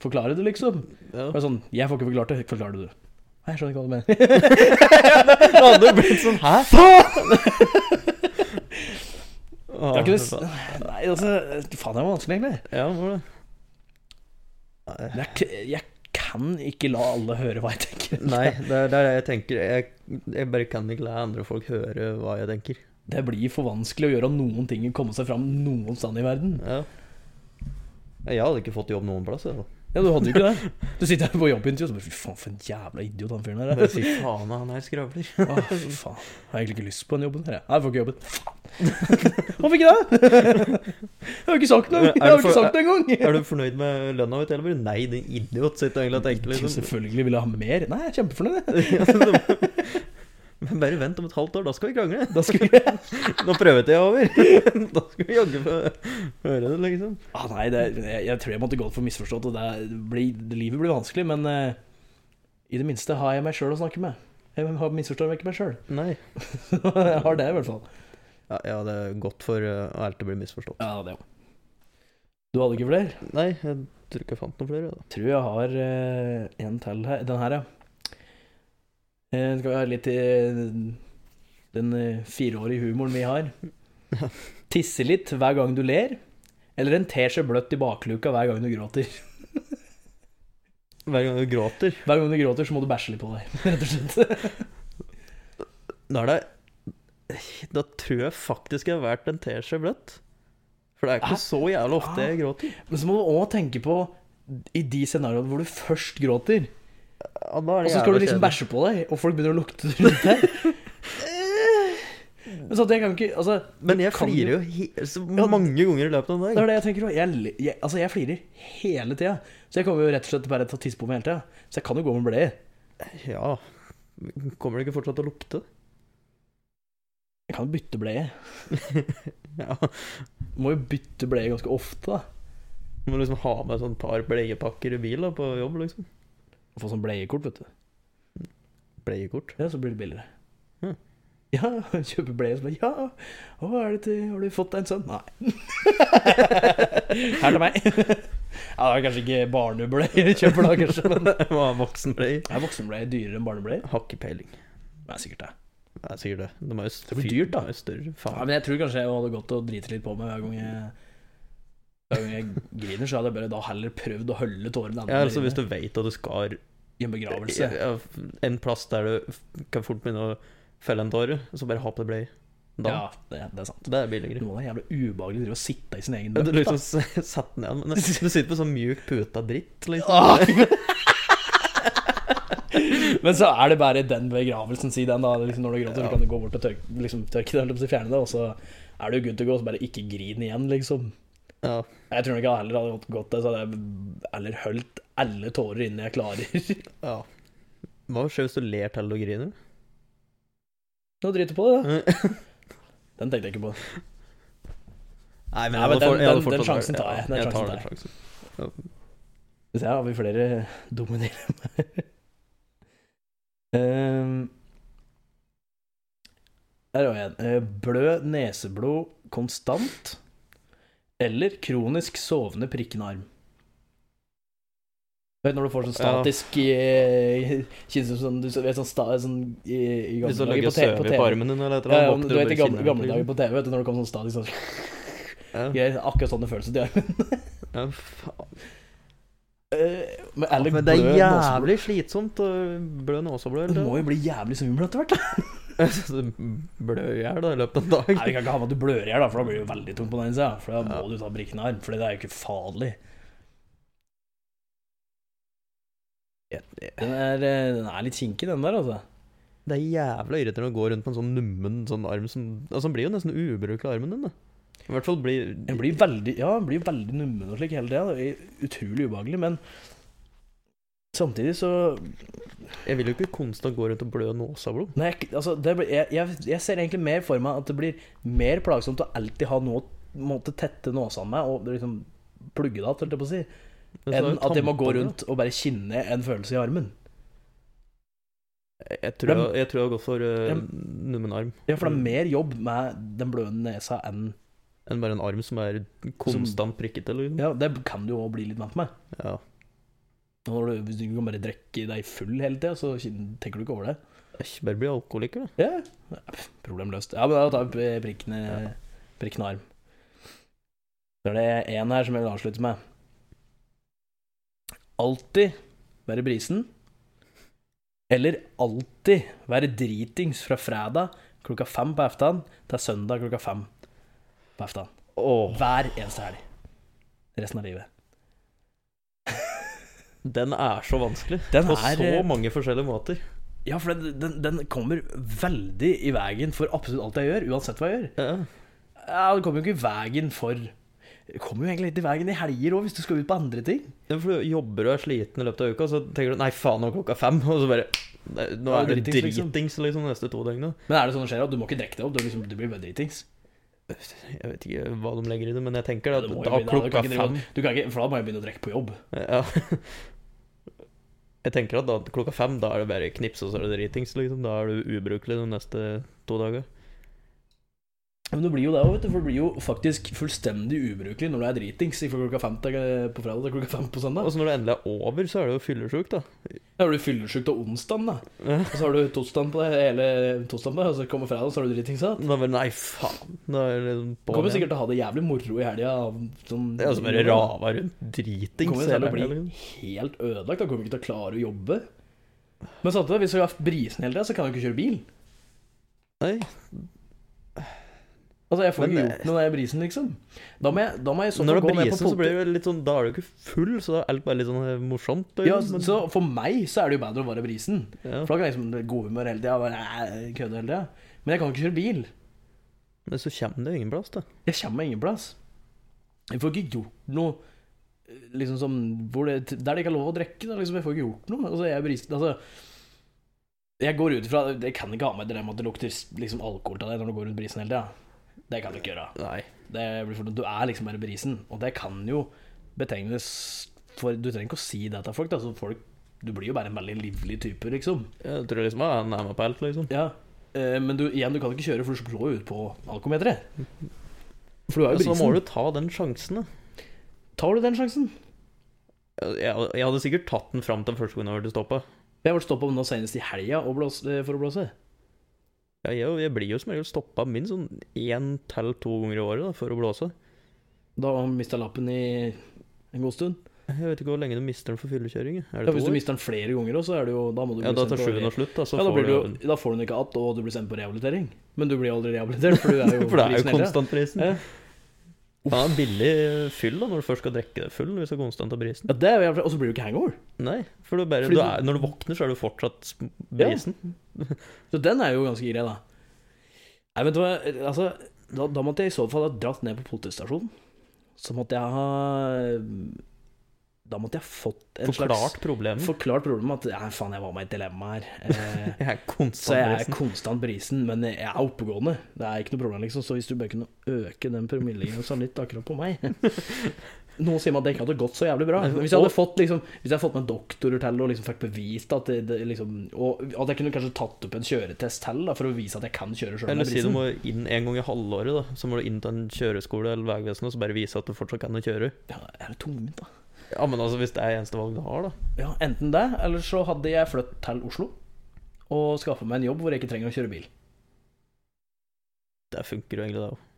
Speaker 2: forklare det, liksom.
Speaker 1: Ja.
Speaker 2: Bare sånn, jeg får ikke forklart det, forklarer det du. Jeg skjønner ikke hva du mener.
Speaker 1: Det hadde blitt sånn Hæ?
Speaker 2: Jeg har ikke det s- Nei, altså Faen, det var vanskelig, egentlig.
Speaker 1: Ah, Ja, det var det.
Speaker 2: Men Jeg, k- jeg kan ikke la alle høre hva jeg tenker.
Speaker 1: Nei, det er det er det jeg tenker. Jeg, jeg bare kan ikke la andre folk høre hva jeg tenker.
Speaker 2: Det blir for vanskelig å gjøre noen ting og komme seg fram noen sted i verden.
Speaker 1: Ja. Jeg hadde ikke fått jobb noen plass. Jeg, da.
Speaker 2: Ja, du hadde jo ikke det. Du sitter her på jobbintervju og så bare Fy faen, for en jævla idiot han fyren der er.
Speaker 1: Bare si faen, han her skravler.
Speaker 2: Åh, fy faen. Jeg har egentlig ikke lyst på den jobben. her, jeg. Nei, jeg får ikke jobben. Faen. Hvorfor ikke det? Jeg har ikke sagt noe.
Speaker 1: Men er
Speaker 2: Jeg
Speaker 1: du
Speaker 2: har ikke
Speaker 1: for-
Speaker 2: sagt det engang.
Speaker 1: Er du fornøyd med lønna mi, Teleborg? Nei, din idiot, sitter jeg egentlig og tenker liksom.
Speaker 2: Selvfølgelig vil jeg ha mer. Nei, jeg er kjempefornøyd. jeg.
Speaker 1: Ja, så- Men bare vent om et halvt år, da skal vi krangle. Da skal vi... Nå prøvetida er over. Da skal vi jaggu få høre det, liksom.
Speaker 2: Ah, nei, det, jeg, jeg tror jeg måtte gått for misforstått, og det blir, livet blir vanskelig, men eh, i det minste har jeg meg sjøl å snakke med. Jeg har misforstår ikke meg sjøl.
Speaker 1: Nei.
Speaker 2: jeg har det, i hvert fall.
Speaker 1: Ja, jeg hadde gått for uh, alt det blir misforstått.
Speaker 2: Ja, det også. Du hadde ikke flere?
Speaker 1: Nei, jeg tror ikke jeg fant noen flere. da.
Speaker 2: tror jeg har eh, en til her. Den her, ja. Eh, skal vi ha litt i den eh, fireårige humoren vi har. Tisse litt hver gang du ler, eller en teskje bløtt i bakluka hver gang du gråter.
Speaker 1: Hver gang du gråter
Speaker 2: Hver gang du gråter, så må du bæsje litt på deg, rett og slett.
Speaker 1: Da er det Da tror jeg faktisk jeg har vært en teskje bløtt. For det er ikke
Speaker 2: Hæ?
Speaker 1: så jævla ofte jeg gråter.
Speaker 2: Men så må du òg tenke på i de scenarioene hvor du først gråter,
Speaker 1: Ja, da er
Speaker 2: og
Speaker 1: det
Speaker 2: så
Speaker 1: jævla
Speaker 2: skal liksom du liksom
Speaker 1: kjedelig.
Speaker 2: bæsje på deg, og folk begynner å lukte rundt deg. Men så at jeg kan ikke altså,
Speaker 1: Men
Speaker 2: du
Speaker 1: jeg
Speaker 2: kan
Speaker 1: flirer jo he så mange ganger i løpet av en
Speaker 2: Det
Speaker 1: dag.
Speaker 2: er det jeg tenker også. Jeg, le- jeg, altså, jeg flirer hele tida. Så jeg kommer jo rett og slett bare til å tisse på meg hele tida. Så jeg kan jo gå med bleier.
Speaker 1: Ja Kommer det ikke fortsatt til å lukte?
Speaker 2: Jeg kan jo bytte bleie.
Speaker 1: Ja.
Speaker 2: Må jo bytte bleie ganske ofte, da.
Speaker 1: Må liksom ha med sånn par bleiepakker i bil da, på jobb, liksom.
Speaker 2: Få sånn bleiekort, vet du.
Speaker 1: Bleiekort.
Speaker 2: Ja, så blir det billigere.
Speaker 1: Hm.
Speaker 2: Ja, kjøpe bleie som er Ja, å, er det til, har du fått deg en sønn? Nei. Her til meg. Ja, det er kanskje ikke barnebleier du kjøper da, kanskje. Men
Speaker 1: Hva er voksenbleier?
Speaker 2: er voksenbleier dyrere enn barnebleier?
Speaker 1: Har ikke peiling.
Speaker 2: Det er sikkert det.
Speaker 1: Det er sikkert det. De er jo
Speaker 2: Det blir dyrt,
Speaker 1: De
Speaker 2: da.
Speaker 1: er jo større.
Speaker 2: Ja,
Speaker 1: Faen.
Speaker 2: men jeg tror kanskje jeg hadde gått og driti litt på meg hver gang jeg hver gang jeg griner, så hadde jeg bare da heller prøvd å holde tårene
Speaker 1: Ja, altså Hvis du vet at du skal
Speaker 2: i en begravelse.
Speaker 1: ja, en plass der du f- kan fort begynne å felle en tåre, så bare ha på deg bleie. Da.
Speaker 2: Ja, det, det er sant.
Speaker 1: Det er billigere.
Speaker 2: Det må være jævlig ubehagelig å drive og sitte i sin egen
Speaker 1: Ja, Du
Speaker 2: møkk, da.
Speaker 1: liksom s- sett den ned, men du sitter på sånn mjuk pute av dritt, liksom.
Speaker 2: Ah. Men så er det bare i den begravelsen, si den, da. Liksom når du gråter,
Speaker 1: Ja.
Speaker 2: så kan du gå bort og tørke, liksom, tørke det, holdt jeg på å si, fjerne det, og så er det jo good to go, så bare ikke grin igjen, liksom.
Speaker 1: Ja.
Speaker 2: Jeg tror nok jeg heller hadde gått- gått det, så hadde jeg heller holdt alle tårer innen jeg klarer
Speaker 1: ja. Hva skjer hvis du ler til og griner?
Speaker 2: Nå driter du på det, da.
Speaker 1: Nei,
Speaker 2: Den tenkte jeg ikke på.
Speaker 1: men,
Speaker 2: Nei, men den-
Speaker 1: fort- jeg
Speaker 2: den- den
Speaker 1: fortsatt-
Speaker 2: sjansen tar jeg. Den
Speaker 1: Ja, jeg
Speaker 2: sjansen
Speaker 1: tar
Speaker 2: tar
Speaker 1: den sjansen.
Speaker 2: Hvis jeg har vi flere dumme dilemmaer. Ehm, Her har vi en. Eh, Blø neseblod konstant eller kronisk sovende prikkende arm? Du vet når du får sånn
Speaker 1: Ja.
Speaker 2: statisk eh, kjennes ut som du vet sånn, sta, sånn i, i
Speaker 1: Hvis
Speaker 2: gamle
Speaker 1: du
Speaker 2: dager
Speaker 1: legger
Speaker 2: på TV. På
Speaker 1: søv i
Speaker 2: TV.
Speaker 1: armen din eller et
Speaker 2: Ja,
Speaker 1: eller
Speaker 2: ja,
Speaker 1: annet,
Speaker 2: du
Speaker 1: våkner og
Speaker 2: vet i
Speaker 1: bare
Speaker 2: gamle,
Speaker 1: kjenner
Speaker 2: gamle
Speaker 1: det,
Speaker 2: dager på TV, vet du, når det kommer sånn statisk sånn
Speaker 1: liksom.
Speaker 2: greier. Akkurat sånn det føles ut i armen.
Speaker 1: Ja. Ja, faen.
Speaker 2: Eh, Men, eller
Speaker 1: Men det
Speaker 2: blø
Speaker 1: er
Speaker 2: neseblod.
Speaker 1: jævlig slitsomt å blø neseblod
Speaker 2: Du
Speaker 1: hele
Speaker 2: må jo bli jævlig svimmel etter hvert. da.
Speaker 1: tiden. Altså, Blø i hjel da, i løpet av en dag.
Speaker 2: Nei, Vi kan ikke ha med at du blør i hjel, da, for da blir det jo veldig tungt på den sida. For da
Speaker 1: Ja.
Speaker 2: må du ta brikken i arm, for det er jo ikke farlig. Den er, eh, den er litt kinkig, den der, altså.
Speaker 1: Det er jævla irriterende å gå rundt med en sånn nummen sånn arm som Altså, den blir jo nesten ubrukelig, armen din, da. I hvert fall blir
Speaker 2: Den blir veldig ja, den blir veldig nummen og slik hele tida. Det er Utrolig ubehagelig. Men samtidig så
Speaker 1: Jeg vil jo ikke konstant gå rundt og blø nåsablod.
Speaker 2: Nei, jeg, altså, det blir, jeg, jeg, jeg ser egentlig mer for meg at det blir mer plagsomt å alltid ha noe å måtte tette nåsa med og liksom plugge det igjen, holdt jeg på å si, enn at jeg må gå rundt og bare kjenne en følelse i armen.
Speaker 1: Jeg tror jeg, jeg, tror jeg har gått for uh,
Speaker 2: Dem-
Speaker 1: nummen arm.
Speaker 2: Ja, for det er mer jobb med den bløende nesa enn
Speaker 1: Enn bare en arm som er konstant prikkete, liksom.
Speaker 2: Ja, det kan du jo også bli litt vant med.
Speaker 1: Ja.
Speaker 2: Og Når du, hvis du kan bare drikke deg full hele tida, så tenker du ikke over det.
Speaker 1: Æsj, Bare bli alkoholiker, da.
Speaker 2: Ja, pff, problemløst. Ja, men da tar vi prikkene, prikkende arm. Så er det en her som jeg vil avslutte med. Alltid være brisen. Eller alltid være dritings fra fredag klokka fem på eftan til søndag klokka fem på eftan.
Speaker 1: Åh,
Speaker 2: Hver eneste helg. Resten av livet.
Speaker 1: den er så vanskelig.
Speaker 2: Den
Speaker 1: På
Speaker 2: er- eh,
Speaker 1: så mange forskjellige måter.
Speaker 2: Ja, for den, den, den kommer veldig i veien for absolutt alt jeg gjør, uansett hva jeg gjør.
Speaker 1: Ja.
Speaker 2: Ja, Den kommer jo ikke i veien for Den kommer jo egentlig litt i veien i helger òg, hvis du skal ut på andre ting.
Speaker 1: Ja, for du jobber og er sliten i løpet av uka, så tenker du 'nei, faen, nå er klokka fem', og så bare «Nei, Nå
Speaker 2: Ja,
Speaker 1: er det
Speaker 2: dritings, liksom.
Speaker 1: dritings liksom, de neste to døgnene.
Speaker 2: Men er det sånn det skjer at du må ikke drikke deg opp? Du, liksom, du blir bare dritings.
Speaker 1: Jeg vet ikke hva de legger i det, men jeg tenker
Speaker 2: Ja,
Speaker 1: at
Speaker 2: du må jo
Speaker 1: da
Speaker 2: begynne- du
Speaker 1: klokka
Speaker 2: kan ikke drive-
Speaker 1: fem
Speaker 2: Du kan ikke, for da må jeg begynne å drikke på jobb.
Speaker 1: Ja. Jeg tenker at da klokka fem, da er det bare knips, og så er det dritings, liksom. Da er du ubrukelig de neste to dager.
Speaker 2: Men du blir jo det òg, vet du. For du blir jo faktisk fullstendig ubrukelig når du er dritings fra klokka fem til, på fredag til klokka fem på søndag.
Speaker 1: Og så når det endelig er over, så er du jo fyllesyk, da.
Speaker 2: Da er du fyllesyk til onsdag, da.
Speaker 1: Ja.
Speaker 2: Og så har du torsdagen på deg, hele torsdagen på deg, og så kommer fredag, og så er du dritings igjen.
Speaker 1: Da bare Nei, faen. Da er det liksom
Speaker 2: Du
Speaker 1: på
Speaker 2: kommer
Speaker 1: igjen.
Speaker 2: sikkert til å ha det jævlig moro i helga. av Sånn,
Speaker 1: Ja, så bare rava rundt dritings.
Speaker 2: Kommer jo til å
Speaker 1: hele
Speaker 2: bli
Speaker 1: helga, liksom.
Speaker 2: helt ødelagt. Da kommer vi ikke til å klare å jobbe. Men samtidig, hvis du har hatt brisen hele tida, så kan du ikke kjøre bil.
Speaker 1: Nei,
Speaker 2: Altså, jeg får
Speaker 1: Men,
Speaker 2: ikke gjort noe når jeg er brisen, liksom. Da må jeg, da må jeg i så
Speaker 1: Når
Speaker 2: fall
Speaker 1: det
Speaker 2: gå med
Speaker 1: briser,
Speaker 2: på
Speaker 1: så blir
Speaker 2: politi.
Speaker 1: det litt sånn Da er du ikke full, så da er alt bare litt sånn eh, morsomt. da,
Speaker 2: Ja,
Speaker 1: liksom, men-
Speaker 2: så for meg så er det jo bedre å være brisen.
Speaker 1: ja.
Speaker 2: For da kan jeg liksom gå humør hele tida og bare, "Æ, kødde hele tida. Men jeg kan ikke kjøre bil.
Speaker 1: Men så kommer det jo ingen plass, da.
Speaker 2: Jeg kommer meg ingen plass. Jeg får ikke gjort noe eh, liksom som, hvor det, der det ikke er lov å drikke. da, Liksom, jeg får ikke gjort noe. Altså, jeg, brist, altså, jeg går ut ifra Jeg kan ikke ha med det der med at det lukter liksom, alkohol av deg når du går rundt brisen hele tida. Det kan du ikke gjøre.
Speaker 1: Nei.
Speaker 2: Det blir for, du er liksom bare brisen, og det kan jo betegnes for Du trenger ikke å si det til folk, da, så folk Du blir jo bare en veldig livlig type, liksom.
Speaker 1: Jeg tror liksom ah, han er med på alt, liksom.
Speaker 2: Ja. Eh, men du, igjen, du kan ikke kjøre, for du slår jo ut på alkometeret. Mm. For du er jo
Speaker 1: Så da
Speaker 2: brisen.
Speaker 1: må du ta den sjansen, da.
Speaker 2: Tar du den sjansen?
Speaker 1: Jeg, jeg hadde sikkert tatt den fram til første gang jeg ble stoppa.
Speaker 2: Jeg ble stoppa nå senest i helga og blås- eh, for å blåse.
Speaker 1: Ja, jeg, jeg blir jo som regel stoppa minst sånn én til to ganger i året da, for å blåse.
Speaker 2: Da mista jeg lappen i en god stund.
Speaker 1: Jeg vet ikke hvor lenge du mister den for fyllekjøring. jeg. Er
Speaker 2: Ja,
Speaker 1: det
Speaker 2: hvis
Speaker 1: to
Speaker 2: du
Speaker 1: år?
Speaker 2: mister den flere ganger, også, så er det jo Da må du
Speaker 1: Ja, da
Speaker 2: sendt
Speaker 1: tar
Speaker 2: på-
Speaker 1: sjuende og slutt, da. Så
Speaker 2: ja, da, blir
Speaker 1: får
Speaker 2: du,
Speaker 1: du
Speaker 2: jo- da får du den ikke att, og du blir sendt på rehabilitering. Men du blir aldri rehabilitert, for du er jo
Speaker 1: For det er
Speaker 2: brisen
Speaker 1: jo
Speaker 2: hele tiden.
Speaker 1: konstantprisen.
Speaker 2: Ja.
Speaker 1: Faen, Det er en billig fyll da, når du først skal drikke deg full hvis du er konstant av brisen.
Speaker 2: Ja, det er, jo- og så blir du ikke hangover.
Speaker 1: Nei, for du bare,
Speaker 2: Fordi
Speaker 1: du
Speaker 2: du-
Speaker 1: er, når du våkner, så er du fortsatt sm- brisen.
Speaker 2: Så den er jo ganske grei, da. Nei, vet du hva, altså da, da måtte jeg i så fall ha dratt ned på politistasjonen. Så måtte jeg ha Da måtte jeg fått en
Speaker 1: Forklart
Speaker 2: slags
Speaker 1: problemet.
Speaker 2: Forklart problemet at ja, faen, jeg var med i et dilemma her. Eh,
Speaker 1: Jeg er
Speaker 2: så jeg er
Speaker 1: konstantprisen.
Speaker 2: konstant brisen, men jeg er oppegående. Det er ikke noe problem, liksom. Så hvis du bare kunne øke den promillegrensa litt akkurat på meg Noen sier meg at det ikke hadde gått så jævlig bra. Men Hvis jeg hadde fått, liksom, hvis jeg hadde fått med doktorer til og liksom fikk bevist at det, det, liksom, Og at jeg kunne kanskje tatt opp en kjøretest til da, for å vise at jeg kan kjøre sjøl
Speaker 1: Eller
Speaker 2: med
Speaker 1: si du
Speaker 2: brisen.
Speaker 1: må inn en gang i halvåret, da. Så må du inn til en kjøreskole eller Vegvesenet og så bare vise at du fortsatt kan å kjøre.
Speaker 2: Ja, er det tungvint, da?
Speaker 1: Ja, men altså, hvis det er eneste valg du har, da.
Speaker 2: Ja, enten det, eller så hadde jeg flyttet til Oslo og skaffa meg en jobb hvor jeg ikke trenger å kjøre bil.
Speaker 1: Det funker jo egentlig, det òg.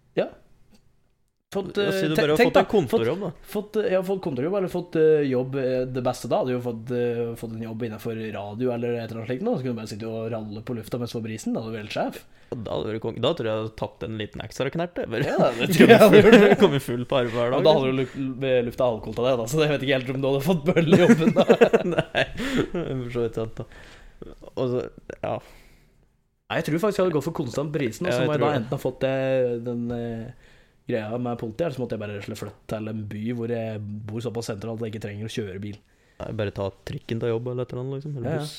Speaker 2: Fått, eh,
Speaker 1: Si du
Speaker 2: te-
Speaker 1: bare har
Speaker 2: tenk
Speaker 1: fått
Speaker 2: da,
Speaker 1: en kontorjobb, da.
Speaker 2: Fått, eh, jeg har fått kontorjobb, eller fått eh, jobb eh, det beste da. Hadde jo fått, eh, fått en jobb innenfor radio eller et eller annet slikt. nå, Så kunne du bare sitte og ralle på lufta mens du var brisen. Da hadde du vært sjef.
Speaker 1: Ja, Da, hadde du kong- da tror jeg jeg hadde tatt en liten ekstra knert. jeg bare.
Speaker 2: Ja, det tror jeg hadde gjort
Speaker 1: Kommet
Speaker 2: det.
Speaker 1: full, kommet full på arbeid hver
Speaker 2: Og
Speaker 1: dag.
Speaker 2: da hadde du luk- ved lufta alkohol til deg, da, så jeg vet ikke helt om du hadde fått bølle i jobben da.
Speaker 1: Nei, for så vidt sant, da. Og så, ja.
Speaker 2: Nei, jeg tror faktisk jeg hadde gått for konstant brisen, og
Speaker 1: Ja,
Speaker 2: så
Speaker 1: jeg
Speaker 2: må jeg
Speaker 1: tror
Speaker 2: da
Speaker 1: det.
Speaker 2: enten ha fått det, den eh, greia med politiet, eller så måtte jeg bare rett og slett flytte til en by hvor jeg bor såpass sentralt at jeg ikke trenger å kjøre bil.
Speaker 1: Nei, bare ta trikken til jobb eller et eller annet, liksom.
Speaker 2: Ja, ja.
Speaker 1: Eller buss.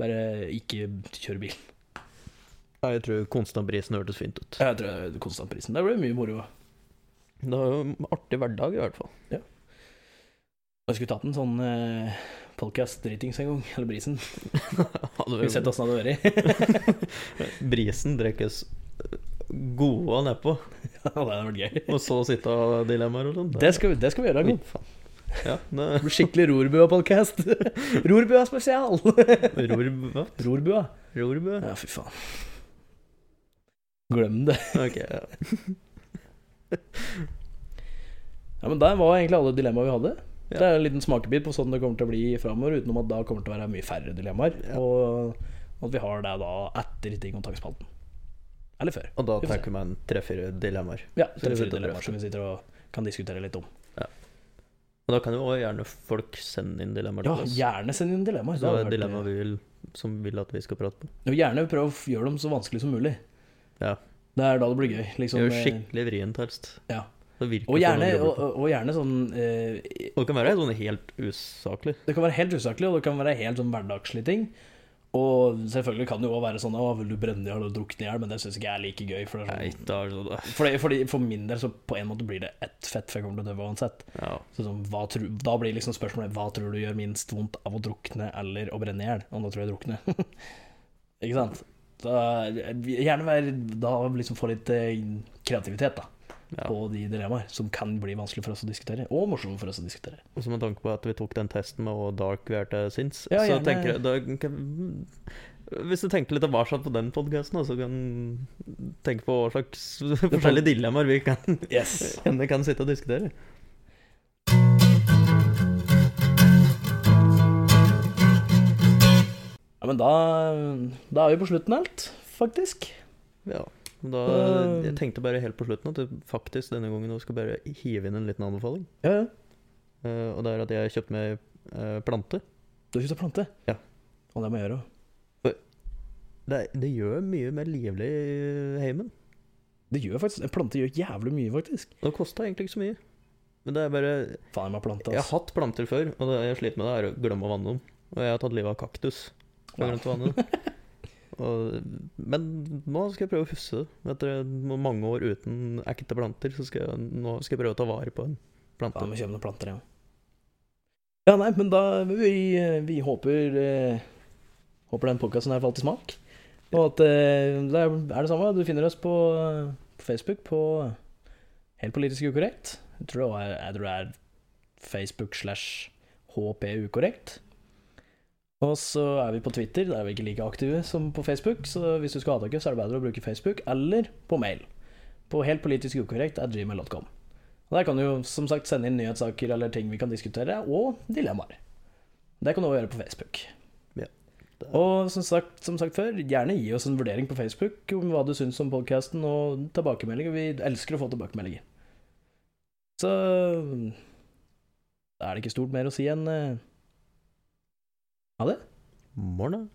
Speaker 2: Bare ikke kjøre bil.
Speaker 1: Nei, jeg tror konstantprisen hørtes fint ut.
Speaker 2: Jeg tror konstant brisen. Det ble mye moro.
Speaker 1: Det var jo en artig hverdag, i hvert fall.
Speaker 2: Jeg skulle tatt en sånn eh, podcast dritings en gang, eller brisen.
Speaker 1: Hadde
Speaker 2: Skal vi sett åssen det hadde vært?
Speaker 1: Brisen drikkes eh, gode nedpå,
Speaker 2: Ja, det hadde vært gøy.
Speaker 1: og så sitte og ha dilemmaer og sånn.
Speaker 2: Det skal, vi- det skal vi gjøre. Agnes.
Speaker 1: Ja, det
Speaker 2: Det blir Skikkelig Rorbua-podkast. Rorbua spesial!
Speaker 1: Rorb... Hva?
Speaker 2: Rorbua.
Speaker 1: Rorbø?
Speaker 2: Ja, fy faen. Glem det.
Speaker 1: Ok, ja.
Speaker 2: Ja, men Der var egentlig alle dilemmaer vi hadde.
Speaker 1: Ja.
Speaker 2: Det er en liten smakebit på sånn det kommer til å bli framover, utenom at da kommer det til å være mye færre dilemmaer.
Speaker 1: Ja.
Speaker 2: Og at vi har det da etter i kontaktspalten. Eller før.
Speaker 1: Og da
Speaker 2: Vi får se.
Speaker 1: tenker man tre-fire dilemmaer.
Speaker 2: Ja,
Speaker 1: Så det
Speaker 2: tre-fire
Speaker 1: sitter og
Speaker 2: dilemmaer
Speaker 1: drøfter.
Speaker 2: som vi sitter og kan diskutere litt om.
Speaker 1: Og da kan jo også gjerne folk sende inn dilemmaer
Speaker 2: Ja,
Speaker 1: til oss.
Speaker 2: gjerne send inn
Speaker 1: Så
Speaker 2: dilemmaer.
Speaker 1: det
Speaker 2: hadde
Speaker 1: er
Speaker 2: vært-
Speaker 1: dilemmaer vi vil, som vi vil at vi skal prate på.
Speaker 2: Og gjerne prøv å gjøre dem så vanskelig som mulig.
Speaker 1: Ja.
Speaker 2: Det er da det blir gøy. Liksom,
Speaker 1: Gjør
Speaker 2: eh,
Speaker 1: skikkelig vrient helst.
Speaker 2: Ja.
Speaker 1: Det virker
Speaker 2: og, gjerne,
Speaker 1: som noe grubler
Speaker 2: og,
Speaker 1: på.
Speaker 2: og- og gjerne sånn eh,
Speaker 1: Og det kan være sånn helt usaklig.
Speaker 2: Det kan være helt usaklig, og det kan være helt sånn hverdagslige ting. Og selvfølgelig kan det jo også være sånn Å, vil du brenne i hjel og drukne i hjel? Men det syns ikke jeg er like gøy. For, det
Speaker 1: Nei,
Speaker 2: er sånn,
Speaker 1: da er det sånn da.
Speaker 2: fordi, fordi for min del så på en måte blir det ett fett før jeg kommer til å dø uansett.
Speaker 1: Ja.
Speaker 2: Så sånn, hva tror, da blir liksom spørsmålet hva tror du gjør minst vondt av å drukne eller å brenne i hjel? Og nå tror jeg drukne. Ikke sant? Da, gjerne være, da liksom få litt eh, kreativitet, da.
Speaker 1: ja.
Speaker 2: på de dilemmaer som kan bli vanskelig for oss å diskutere, og morsomme for oss å diskutere.
Speaker 1: Og så med tanke på at vi tok den testen med hvor dark vi er til sinns,
Speaker 2: Ja,
Speaker 1: så
Speaker 2: gjerne.
Speaker 1: tenker jeg da, kan, Hvis du tenker litt tilbake på den podkasten, så kan du tenke på hva slags forskjellige dilemmaer vi kan,
Speaker 2: Yes.
Speaker 1: henne kan sitte og diskutere.
Speaker 2: Ja, men da, da er vi på slutten av alt, faktisk.
Speaker 1: Ja. Da,
Speaker 2: Um.
Speaker 1: jeg tenkte bare helt på slutten at du faktisk denne gangen nå skal bare hive inn en liten anbefaling.
Speaker 2: Ja, ja.
Speaker 1: Eh, og det er at jeg kjøpte meg eh, plante.
Speaker 2: Du har kjøpt deg plante?
Speaker 1: Ja.
Speaker 2: Og det må jeg gjøre òg.
Speaker 1: Det, det gjør mye mer livlig i heimen.
Speaker 2: Det gjør faktisk, En plante gjør jævlig mye, faktisk.
Speaker 1: Det kosta egentlig ikke så mye. Men det er bare
Speaker 2: Faen meg plante,
Speaker 1: Jeg har
Speaker 2: ass.
Speaker 1: hatt planter før, og det jeg sliter med, det er å glemme å vanne dem. Og jeg har tatt livet av kaktus. Og
Speaker 2: Ja.
Speaker 1: glemt å vanne dem. Og, men nå skal jeg prøve å huske det. Etter mange år uten ekte planter, så skal jeg, nå skal jeg prøve å ta vare på en plante.
Speaker 2: Faen, vi kommer noen planter, ja. Ja, nei, men da Vi, vi håper eh, Håper den podkasten her falt i smak. Og at eh, det er er det samme. Du finner oss på, eh, på Facebook på Helt politisk ukorrekt. Jeg tror det er, jeg tror det er Facebook slash HP ukorrekt. Og så er vi på Twitter, der er vi ikke like aktive som på Facebook. Så hvis du skal ha tak i oss, er det bedre å bruke Facebook eller på mail. På helt politisk ukorrekt at gmail.com. Og Der kan du jo som sagt sende inn nyhetssaker eller ting vi kan diskutere, og dilemmaer. Det kan du også gjøre på Facebook.
Speaker 1: Ja.
Speaker 2: Og som sagt, som sagt før, gjerne gi oss en vurdering på Facebook om hva du syns om podkasten, og tilbakemeldinger. Vi elsker å få tilbakemeldinger. Så da er det ikke stort mer å si enn eh, ha det.
Speaker 1: Morna.